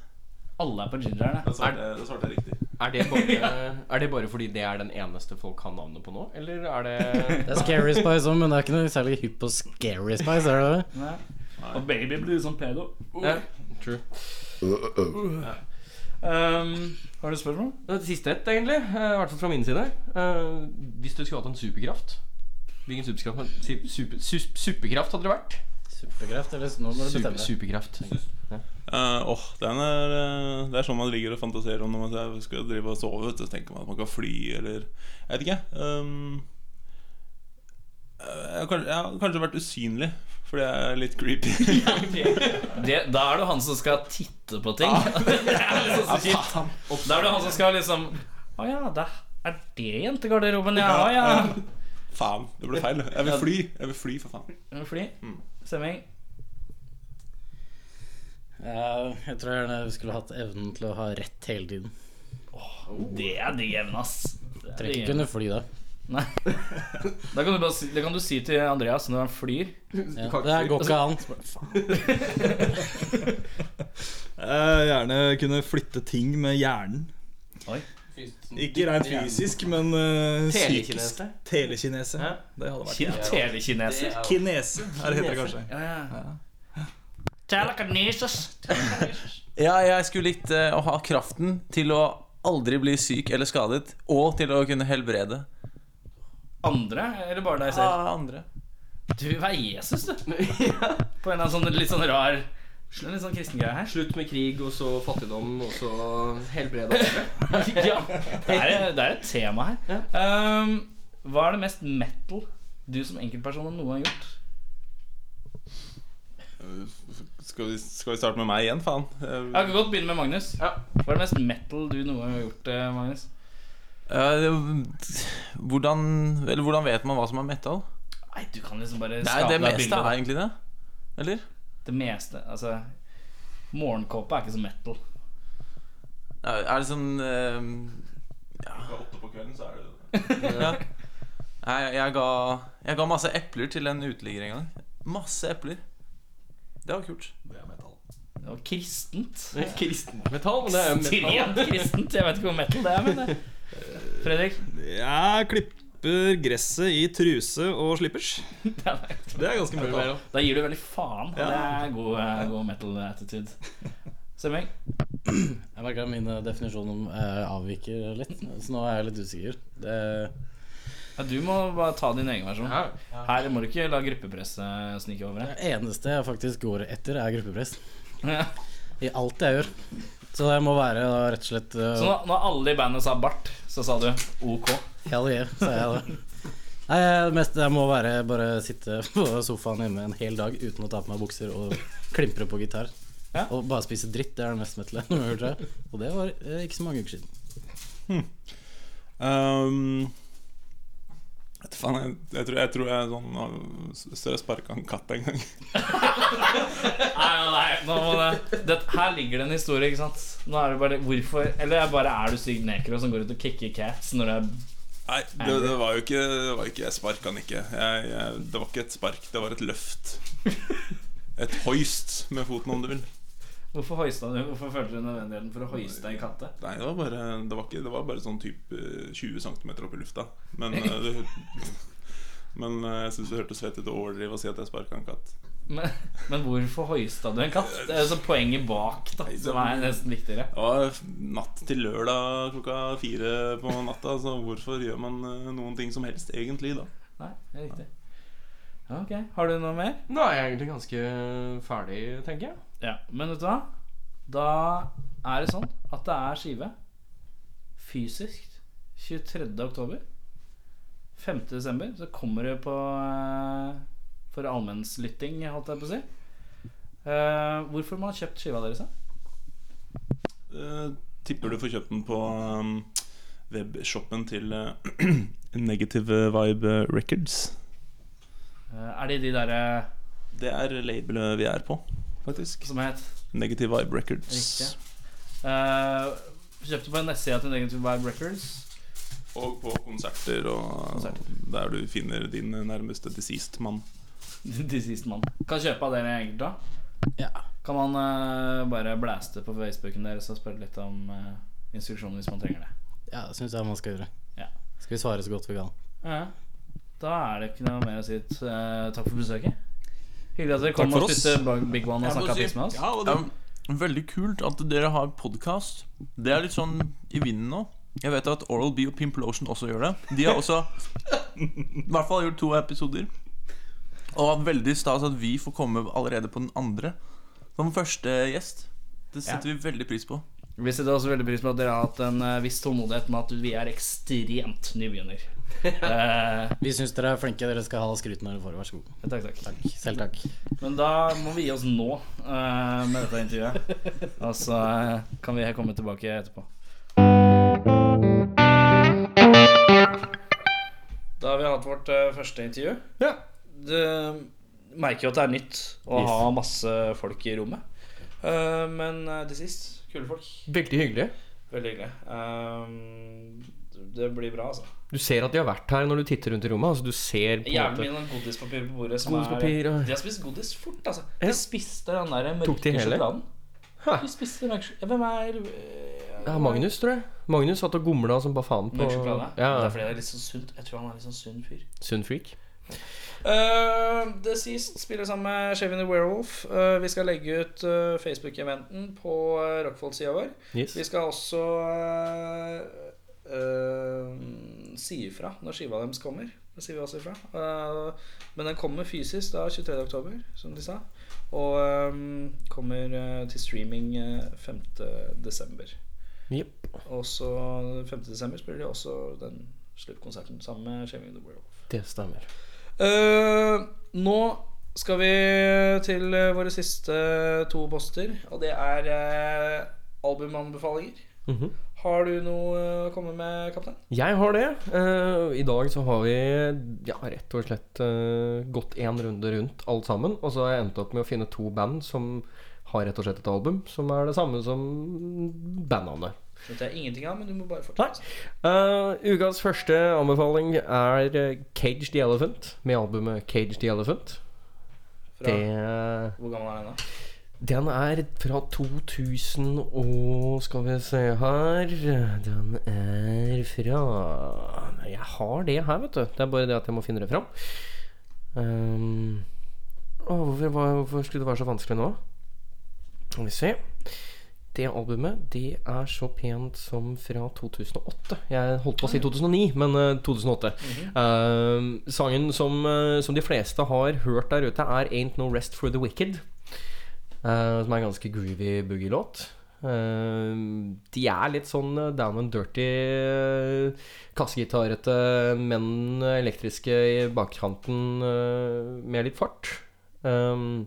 S2: Alle er på gingeren. jeg.
S6: Da svarte jeg- da svarte jeg riktig.
S3: Er det, bare, er det bare fordi det er den eneste folk kan navnet på nå, eller er det
S4: Det er Scary Spice òg, men det er ikke noe særlig hypp på Scary Spice, er det det?
S2: Nei. Og Baby blir sånn pedo. Uh,
S3: Ja. True.
S2: Um, har du spørsmål?
S3: Det siste ett, egentlig. eh, I hvert fall fra min side. Eh, hvis du skulle hatt en superkraft Hvilken superkraft, si- super, sus- superkraft hadde det vært?
S4: Superkraft, eller nå må du
S3: Super,
S4: bestemme.
S3: superkraft.
S6: Eh, åh, den er, eh, det er sånn man ligger og fantaserer om når man sier, skal drive og sove. vet du, Så tenker man at man kan fly, eller Jeg vet ikke. ehm, eh, jeg, har kan, jeg har kanskje vært usynlig, fordi jeg er litt creepy.
S2: Det, da er du han som skal titte på ting. det er liksom så kjipt. Da er du han som skal liksom Å ja, det er det jentegarderoben jeg har, ja.
S6: faen, det ble feil. Jeg vil fly, jeg vil fly for faen.
S2: Fly.
S6: Mm.
S2: Semming.
S4: Ja, jeg tror gjerne jeg skulle hatt evnen til å ha rett hele tiden.
S2: Det er digg evne, ass. Det er
S4: Trenger
S2: digg
S4: ikke
S2: evne.
S4: kunne fly da.
S2: Da kan du bare si, det kan du si til Andreas når han flyr.
S4: Ja, det her går ikke an.
S5: Eh, gjerne kunne flytte ting med hjernen.
S2: Oi.
S5: Ikke rent fysisk, men eh, psykisk.
S3: Telekinese.
S5: Telekinese. Det hadde vært
S2: Kin- Telekineser.
S5: Kinese, er det heter det kanskje.
S2: Ja, ja. Telekinesis.
S13: Ja, jeg skulle likt eh, å ha kraften til å aldri bli syk eller skadet, og til å kunne helbrede
S2: Andre, eller bare deg selv?
S13: ah, andre.
S2: Du er Jesus, du.
S3: Altså,
S2: På en eller annen sånn litt sånn rar Slå en litt sånn kristen greie her.
S3: Slutt med krig, og så fattigdom, og så helbrede
S2: ja, det er, det er et tema her. Um, hva er det mest metal du som enkeltperson har noen gang gjort?
S6: Skal vi, skal vi starte med meg igjen, faen?
S13: Eh,
S2: Jeg kan godt begynne med Magnus.
S3: Ja.
S2: Hva er det mest metal du noen gang har gjort, eh, Magnus?
S13: Ja, det- hvordan, eller hvordan vet man hva som er metal?
S2: Nei, du kan liksom bare
S13: Nei,
S2: skape
S13: det
S2: deg et
S13: meste
S2: bilde.
S13: er egentlig det. Eller?
S2: Det meste, altså Morgenkåpa er ikke så metal.
S13: Ja, Er det sånn eh,
S6: Åtte på kvelden, så er det
S13: ja. Nei, jeg ga, jeg ga masse epler til en uteligger en gang. Masse epler. Det var kult.
S2: Det var kristent.
S3: Metall, men det er jo metall.
S2: Ekstremt kristent. Jeg vet ikke hvor metal det er, men det. Fredrik?
S5: Jeg klipper gresset i truse og slippers. Det er ganske mye. da.
S2: Da gir du veldig faen. og Det er god, eh, god metal attitude. Semming?
S4: Jeg merker at min eh, definisjon om, eh, avviker litt, så nå er jeg litt usikker. Det,
S2: Ja, du må bare ta din egen versjon. Her må du ikke la gruppepresset snike over deg.
S4: det eneste jeg faktisk går etter, er gruppepress.
S2: Ja.
S4: I alt jeg gjør. Så det må være da, rett og slett eh,
S2: Så når, når alle i bandet sa bart, så sa du OK.
S4: Hell yeah, sa jeg da. Nei, det meste jeg må være bare sitte på sofaen hjemme en hel dag uten å ta på meg bukser og klimpre på gitar.
S2: Ja.
S4: Og bare spise dritt. Det er det mest metale jeg har gjort. tror jeg. Og det var eh, ikke så mange uker siden.
S6: Um, vet du faen, jeg, jeg, tror, jeg tror jeg er sånn uh, Større sparka en katt en gang.
S2: Nei, nei, nei, nå må det, det Her ligger det en historie, ikke sant? Nå er det bare Hvorfor Eller bare er du syk nekro som går ut og kicker cats når det er
S6: Nei, det, det var jo ikke, det var ikke Jeg sparka han ikke. Jeg, jeg, det var ikke et spark, det var et løft. Et hoist med foten, om du vil.
S2: Hvorfor hoista du Hvorfor følte du nødvendigheten for å hoiste en katte?
S6: Nei, det var bare, det var ikke, det var bare sånn type eh, 20 cm opp i lufta. Men, eh, det, men eh, jeg syns det hørtes fett ut å overdrive og si at jeg sparka en katt.
S2: Men, men hvorfor hoista du en katt? Det er jo så poenget bak, da, som er nesten viktigere.
S6: Det var natt til lørdag klokka fire på natta, så hvorfor gjør man eh, noen ting som helst egentlig da?
S2: Nei, det er riktig. Ja, ok. Har du noe mer?
S3: Nå er jeg egentlig ganske ferdig, tenker jeg.
S2: Ja, men vet du hva? Da er det sånn at det er skive fysisk 23. oktober. 5. desember så kommer det på eh, for allmennslytting, holdt jeg på å si. Eh, hvorfor må man ha kjøpt skiva deres? da?
S6: Eh, tipper du får kjøpt den på um, webshoppen til eh, Negative Vibe Records.
S2: Eh, er det de derre
S6: Det er labelet vi er på, faktisk.
S2: som het
S6: Negative Vibe Records.
S2: Riktig. eh, Kjøpte på en nettside til Negative Vibe Records.
S6: Og på konserter, og
S2: Konserter.
S6: der du finner din nærmeste deceased mann.
S2: De siste mann. Kan kjøpe av dere enkelt, da.
S4: Ja.
S2: Kan man eh, bare blaste på Facebooken deres og spørre litt om eh, instruksjoner hvis man trenger det.
S4: Ja, det syns jeg man skal gjøre.
S2: Ja.
S4: Skal vi svare så godt vi kan.
S2: Ja. Da er det ikke noe mer å si. Eh, takk for besøket. Hyggelig at dere
S5: Takk
S2: kom
S5: for
S2: og
S5: oss.
S2: spiste Big One og snakka piss med oss.
S13: Ja,
S11: Veldig kult at dere har podkast. Det er litt sånn i vinden nå. Jeg vet at Oral B og Pimplotion også gjør det. De har også i hvert fall gjort to episoder. Og veldig stas at vi får komme allerede på den andre som første gjest. Det setter vi veldig pris på.
S2: Vi setter også veldig pris på at dere har hatt en eh, viss tålmodighet med at vi er ekstremt nybegynner. Eh,
S4: Vi syns dere er flinke. Dere skal ha skryten dere får. Vær så god.
S2: takk, takk.
S4: Selv takk.
S2: Men da må vi gi oss nå eh, med dette intervjuet. Og så eh, kan vi komme tilbake etterpå. Da har vi hatt vårt eh, første intervju.
S5: Ja.
S2: Du merker jo at det er nytt å ha masse folk i rommet. Eh, men eh, til sist kule folk.
S3: Veldig hyggelig.
S2: Veldig hyggelig. Eh, det blir bra, altså.
S3: Du ser at de har vært her når du titter rundt i rommet. Altså du ser på en
S2: Jævlig
S3: måte
S2: mye sånn godispapir på bordet. Som
S3: Godispapir
S2: er,
S3: og-
S2: de har spist godis fort, altså.
S3: Ja.
S2: De spiste den der
S3: Tok de
S2: mørke
S3: hele?
S2: sjokoladen.
S3: Hæ.
S2: De spiste den mørke sjok- ja, Hvem er øh,
S3: ja, Magnus, tror jeg. Magnus satt og gomla som bare faen på
S2: Mørk sjokolade? Det er
S3: ja,
S2: fordi det er litt sånn sunt. Jeg tror han er litt sånn sunn fyr.
S3: Sunn freak.
S2: Eh, det sist spiller sammen med Shaven the Werewolf. Eh, vi skal legge ut eh, Facebook-eventen på uh, Rockfold-sida vår.
S3: Yes.
S2: Vi skal også eh, eh, si ifra når skiva deres kommer. Det sier vi også ifra. Eh, men den kommer fysisk da 23.10, som de sa. Og eh, kommer eh, til streaming eh, 5.12.
S3: Jepp.
S2: Og så 5.12. spiller de også den sluttkonserten sammen med Shaming the World.
S3: Det stemmer.
S2: Eh, nå skal vi til eh, våre siste to poster, og det er eh, albumanbefalinger.
S3: Mhm.
S2: Har du noe eh, å komme med, kaptein?
S3: Jeg har det. Eh, I dag så har vi ja, rett og slett eh, gått én runde rundt alt sammen. Og så har jeg endt opp med å finne to band som har rett og slett et album som er det samme som bandnavnet.
S2: Det vet jeg ingenting av, men du må bare
S3: Nei.
S2: fortelle.
S3: Eh, ukas første anbefaling er eh, Cage the Elephant med albumet Cage the Elephant.
S2: Fra,
S3: Det
S2: Hvor gammel er den, da?
S3: Den er fra 2000 og Skal vi se her Den er fra Nei, Jeg har det her, vet du. Det er bare det at jeg må finne det fram. Ehm, å, hvorfor, hva- hvorfor skulle det være så vanskelig nå? Skal vi se. Det albumet det er så pent som fra 2008. Jeg holdt på å si 2009, men eh, 2008. Ehm, sangen som, eh, som de fleste har hørt der ute, er 'Ain't No Rest For The Wicked'. Eh, som er en ganske groovy boogie-låt. Eh, de er litt sånn eh, down and dirty, eh, kassegitarete, men elektriske i bakkanten eh, med litt fart. Um,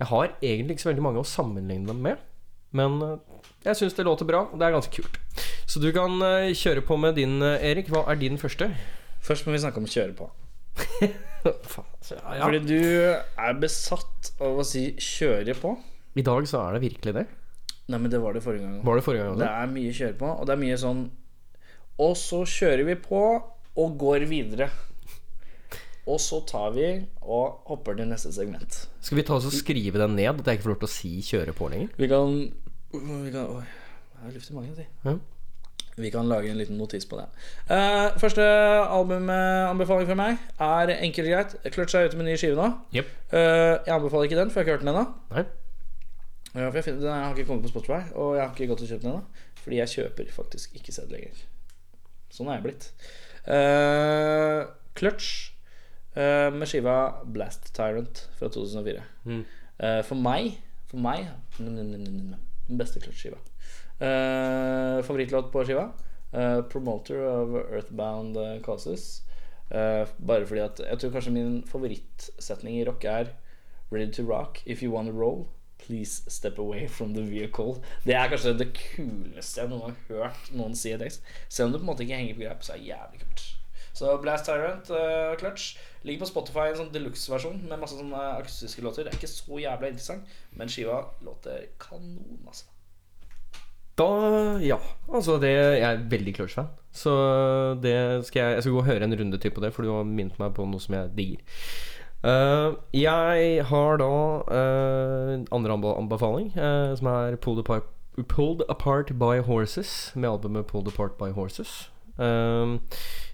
S3: jeg har egentlig ikke så veldig mange å sammenligne dem med, men eh, jeg syns det låter bra, og det er ganske kult. Så du kan eh, kjøre på med din, eh, Erik. Hva er din første?
S2: Først må vi snakke om kjøre på.
S3: Faen, altså, ja, ja.
S2: Fordi du er besatt av å si 'kjøre på'.
S3: I dag så er det virkelig det.
S2: Nei, men det var det forrige gang også.
S3: Var det forrige gang
S2: Det
S3: også?
S2: er mye kjøre på, og det er mye sånn Og så kjører vi på og går videre. Og så tar vi og hopper til neste segment.
S3: Skal vi ta oss og skrive den ned, at jeg ikke får lov til å si 'kjøre på' lenger?
S2: Vi kan, vi kan Oi, jeg har luft i magen, si.
S3: Ja.
S2: Vi kan lage en liten notis på det. Eh, første albumanbefaling fra meg er enkelt og greit. Clutch er ute med ny skive nå.
S3: Jep.
S2: Eh, jeg anbefaler ikke den, for jeg har ikke hørt den ennå.
S3: Nei.
S2: Ja, for jeg, finner, den har ikke kommet på Spotify, og jeg har ikke gått og kjøpt den ennå. Fordi jeg kjøper faktisk ikke CD lenger. Sånn er jeg blitt. Eh, Clutch eh, med skiva Blast Tyrant fra 2004.
S3: Mm.
S2: Eh, for meg For meg mm, mm, mm, mm, den beste Clutch-skiva. Eh, favorittlåt på skiva? Eh, Promoter of Earthbound eh, Causes. Eh, bare fordi at Jeg tror kanskje min favorittsetning i rock er Ready to rock if you wanna roll. Please step away from the vehicle. Det er kanskje det kuleste jeg noen har hørt noen si i tekst. Selv om det på en måte ikke henger på greip, så er det jævlig kult. Så Blast Tyrant, eh, Clutch, ligger på Spotify i en sånn deluxe-versjon med masse sånne akustiske låter. Det er ikke så jævla interessant, men skiva låter kanon, altså.
S3: Da, ja. Altså, det, jeg er veldig Clutch-fan. Så det skal jeg, jeg skal gå og høre en runde til på det, for du har minnet meg på noe som jeg digger. Eh, jeg har da eh, andre anbe- anbefaling, eh, som er Pulled Apart, Pulled Apart by Horses, med albumet Pulled Apart by Horses. Eh,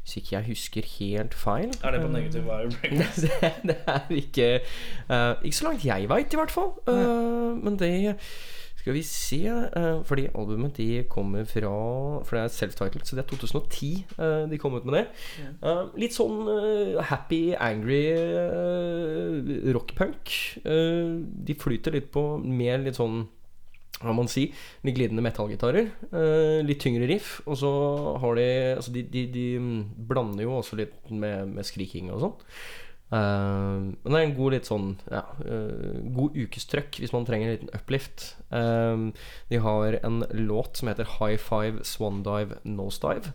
S3: hvis ikke jeg husker helt feil
S2: Er det på negativ wire break?
S3: det, det er ikke eh, Ikke så langt jeg veit, i hvert fall. Eh, men det Skal vi se eh, Fordi albumet de kommer fra For det er self-titled, så det er 2010 eh, de kom ut med det. Eh, litt sånn eh, happy, angry eh, rockpunk. Eh, de flyter litt på mer litt sånn hva man si, litt glidende metallgitarer. eh, litt tyngre riff. Og så har de Altså, de, de, de blander jo også litt med, med skriking og sånn. Eh, men det er en god litt sånn ja, eh, God ukestrøkk hvis man trenger en liten uplift. Eh, de har en låt som heter High Five Swan Dive Nose Dive.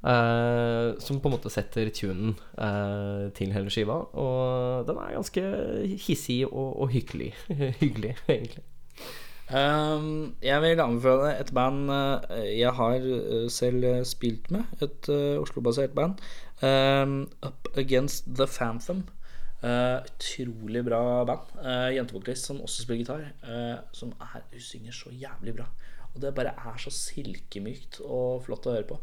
S3: eh, som på en måte setter tunen eh, til hele skiva. Og den er ganske hissig og, og hyggelig. hyggelig, egentlig.
S2: Ehm, jeg vil anbefale et band eh, jeg har eh, selv eh, spilt med. Et eh, Oslo-basert band. Ehm, Up Against The Phantom. Eh, utrolig bra band. Uh, Jentevokalist som også spiller gitar. eh, som er, hun synger så jævlig bra. Og det bare er så silkemykt og flott å høre på.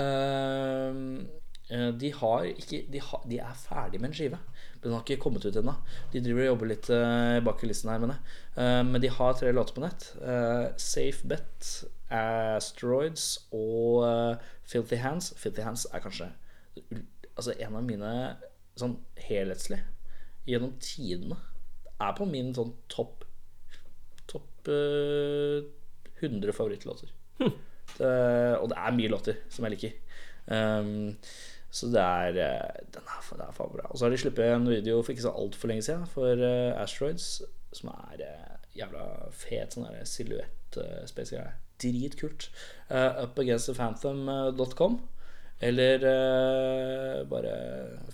S2: Ehm, eh, de, har ikke, de, har, de er ferdig med en skive, men den har ikke kommet ut ennå. De driver og jobber litt eh, bak kulissene her, mener jeg. Eh, men de har tre låter på nett. Eh, Safe Bet, Asteroids og eh, Filthy Hands. Filthy Hands er kanskje ul- altså en av mine sånn helhetslig gjennom tidene. Er på min sånn topp topp eh, 100 favorittlåter. Det, Eh, og det er mye låter som jeg liker. Ehm, så det er, eh, den er, fa- det er faen bra. Og så har de sluppet en video for ikke så altfor lenge siden for eh, Asteroids, som er eh, jævla fet sånn der silhuett-space-greie. Dritkult. Uh, Upagainstthephantom.com. eh, Eller eh, bare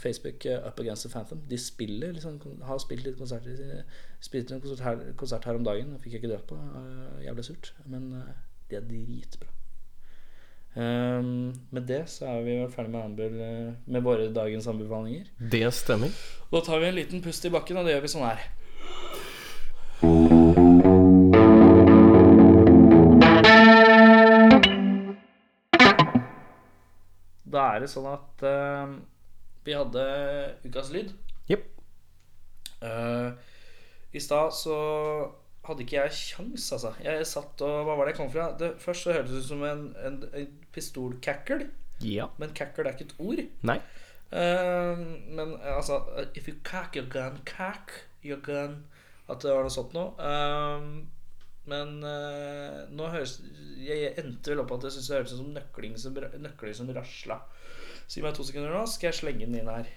S2: Facebook eh, Up Against the Phantom. De spiller liksom, kon- har spilt litt konserter. De Spilte en konsert her, konsert her om dagen. Fikk jeg ikke dratt på. Uh, jævlig surt. Men eh, de er dritbra. Ehm, med det så er vi vel ferdig med, anbefal- eh, med våre dagens anbefalinger.
S3: Det stemmer.
S2: Da tar vi en liten pust i bakken, og det gjør vi sånn her. Da er det sånn at eh, vi hadde ukas lyd.
S3: Jepp.
S2: Eh, I stad så hadde ikke jeg kjangs, altså. Jeg satt og Hva var det jeg kom fra? Det, først så hørtes det ut som en, en, en pistolkakkel,
S3: Ja.
S2: men kakkel er ikke et ord.
S3: Nei.
S2: Eh, men eh, altså eh, If you cack your gun, cack your gun At det var noe sånt noe. Eh, men eh, nå høres jeg, jeg endte vel opp at jeg syns det høres ut som nøkling som, ra- nøkler som rasla. Si meg to sekunder nå, skal jeg slenge den inn her.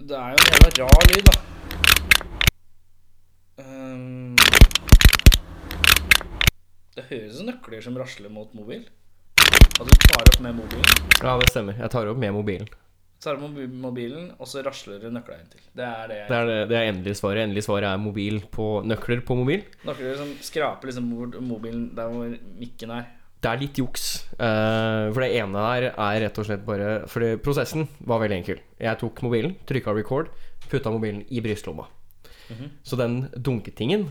S2: Det er jo en jævla rar lyd, da. Eh, det høres ut som nøkler som rasler mot mobil. At du tar opp med mobilen.
S3: Ja, det stemmer. Jeg tar opp med mobilen.
S2: Så er det mobi- mobilen, og så rasler det nøkla inn til. Det er det jeg
S3: Det er, det, det er endelig svaret. Endelig svaret er mobil på nøkler på mobil.
S2: Nøkler som skraper liksom hvor mobilen der hvor mikken er.
S3: Det er litt juks. eh, for det ene her er rett og slett bare Fordi prosessen var veldig enkel. Jeg tok mobilen, trykka record, putta mobilen i brystlomma. Så den dunketingen,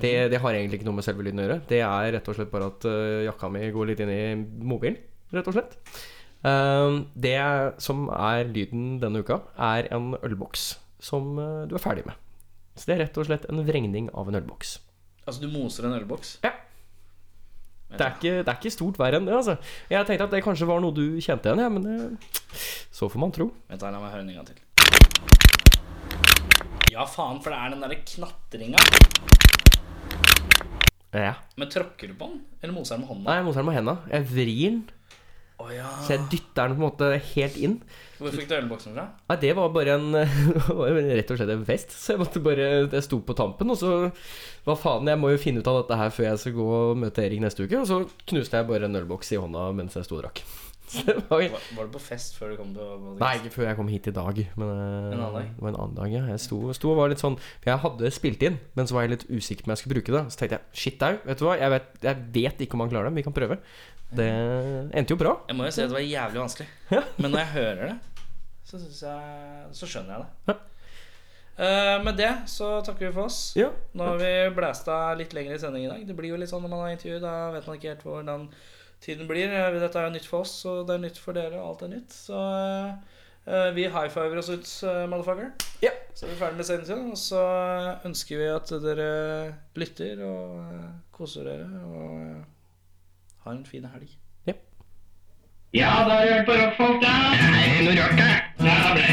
S3: det, det har egentlig ikke noe med selve lyden å gjøre. Det er rett og slett bare at eh, jakka mi går litt inn i mobilen, rett og slett. Eh, det som er lyden denne uka, er en ølboks som eh, du er ferdig med. Så det er rett og slett en vrengning av en ølboks.
S2: Altså, du moser en ølboks.
S3: Det er, ikke, det er ikke stort verre enn det, altså. Jeg tenkte at det kanskje var noe du kjente igjen, ja, men det, så får man tro.
S2: Vent, da, la meg høre den en gang til. Ja, faen, for det er den derre knatringa.
S3: Ja.
S2: Men tråkker du på den, eller moser den med hånda?
S3: Nei, jeg moser den med henda. Jeg vrir den,
S2: Å ja.
S3: så jeg dytter den på en måte helt inn.
S2: Hvor fikk du ølboksen fra?
S3: Nei, det var bare en det var jo rett og slett en fest, så jeg måtte bare Jeg sto på tampen, og så Hva faen, jeg må jo finne ut av dette her før jeg skal gå og møte Erik neste uke. Og så knuste jeg bare en ølboks i hånda mens jeg sto og drakk. Så det var
S2: Var, var du på fest før du kom til Bodø?
S3: Nei, ikke før jeg kom hit i dag. Men eh,
S2: En annen dag?
S3: det var en annen dag, ja. Jeg sto, sto og var litt sånn For jeg hadde spilt inn, men så var jeg litt usikker på om jeg skulle bruke det. Så tenkte jeg shit au, vet du hva, jeg vet, jeg vet ikke om han klarer det, men vi kan prøve. Det endte jo bra.
S2: Jeg må jo si at det var jævlig vanskelig. Men når jeg hører det, så, synes jeg, så skjønner jeg det. Eh, med det så takker vi for oss.
S3: Ja.
S2: Nå har vi blæsta litt lengre sending i dag. Det blir jo litt sånn når man har intervju, da vet man ikke helt hvordan tiden blir. Eh, Dette er jo nytt for oss, og det er nytt for dere, og alt er nytt. Så eh, eh, vi high-fiver oss ut, eh, motherfucker.
S3: Ja.
S2: Så er vi ferdig med sendingen, og så eh, ønsker vi at dere lytter og eh, koser dere. Og eh, ha en fin helg.
S14: Ja, da har du hørt på rockfolk, da. Det er noe rart, det. Ja, bra.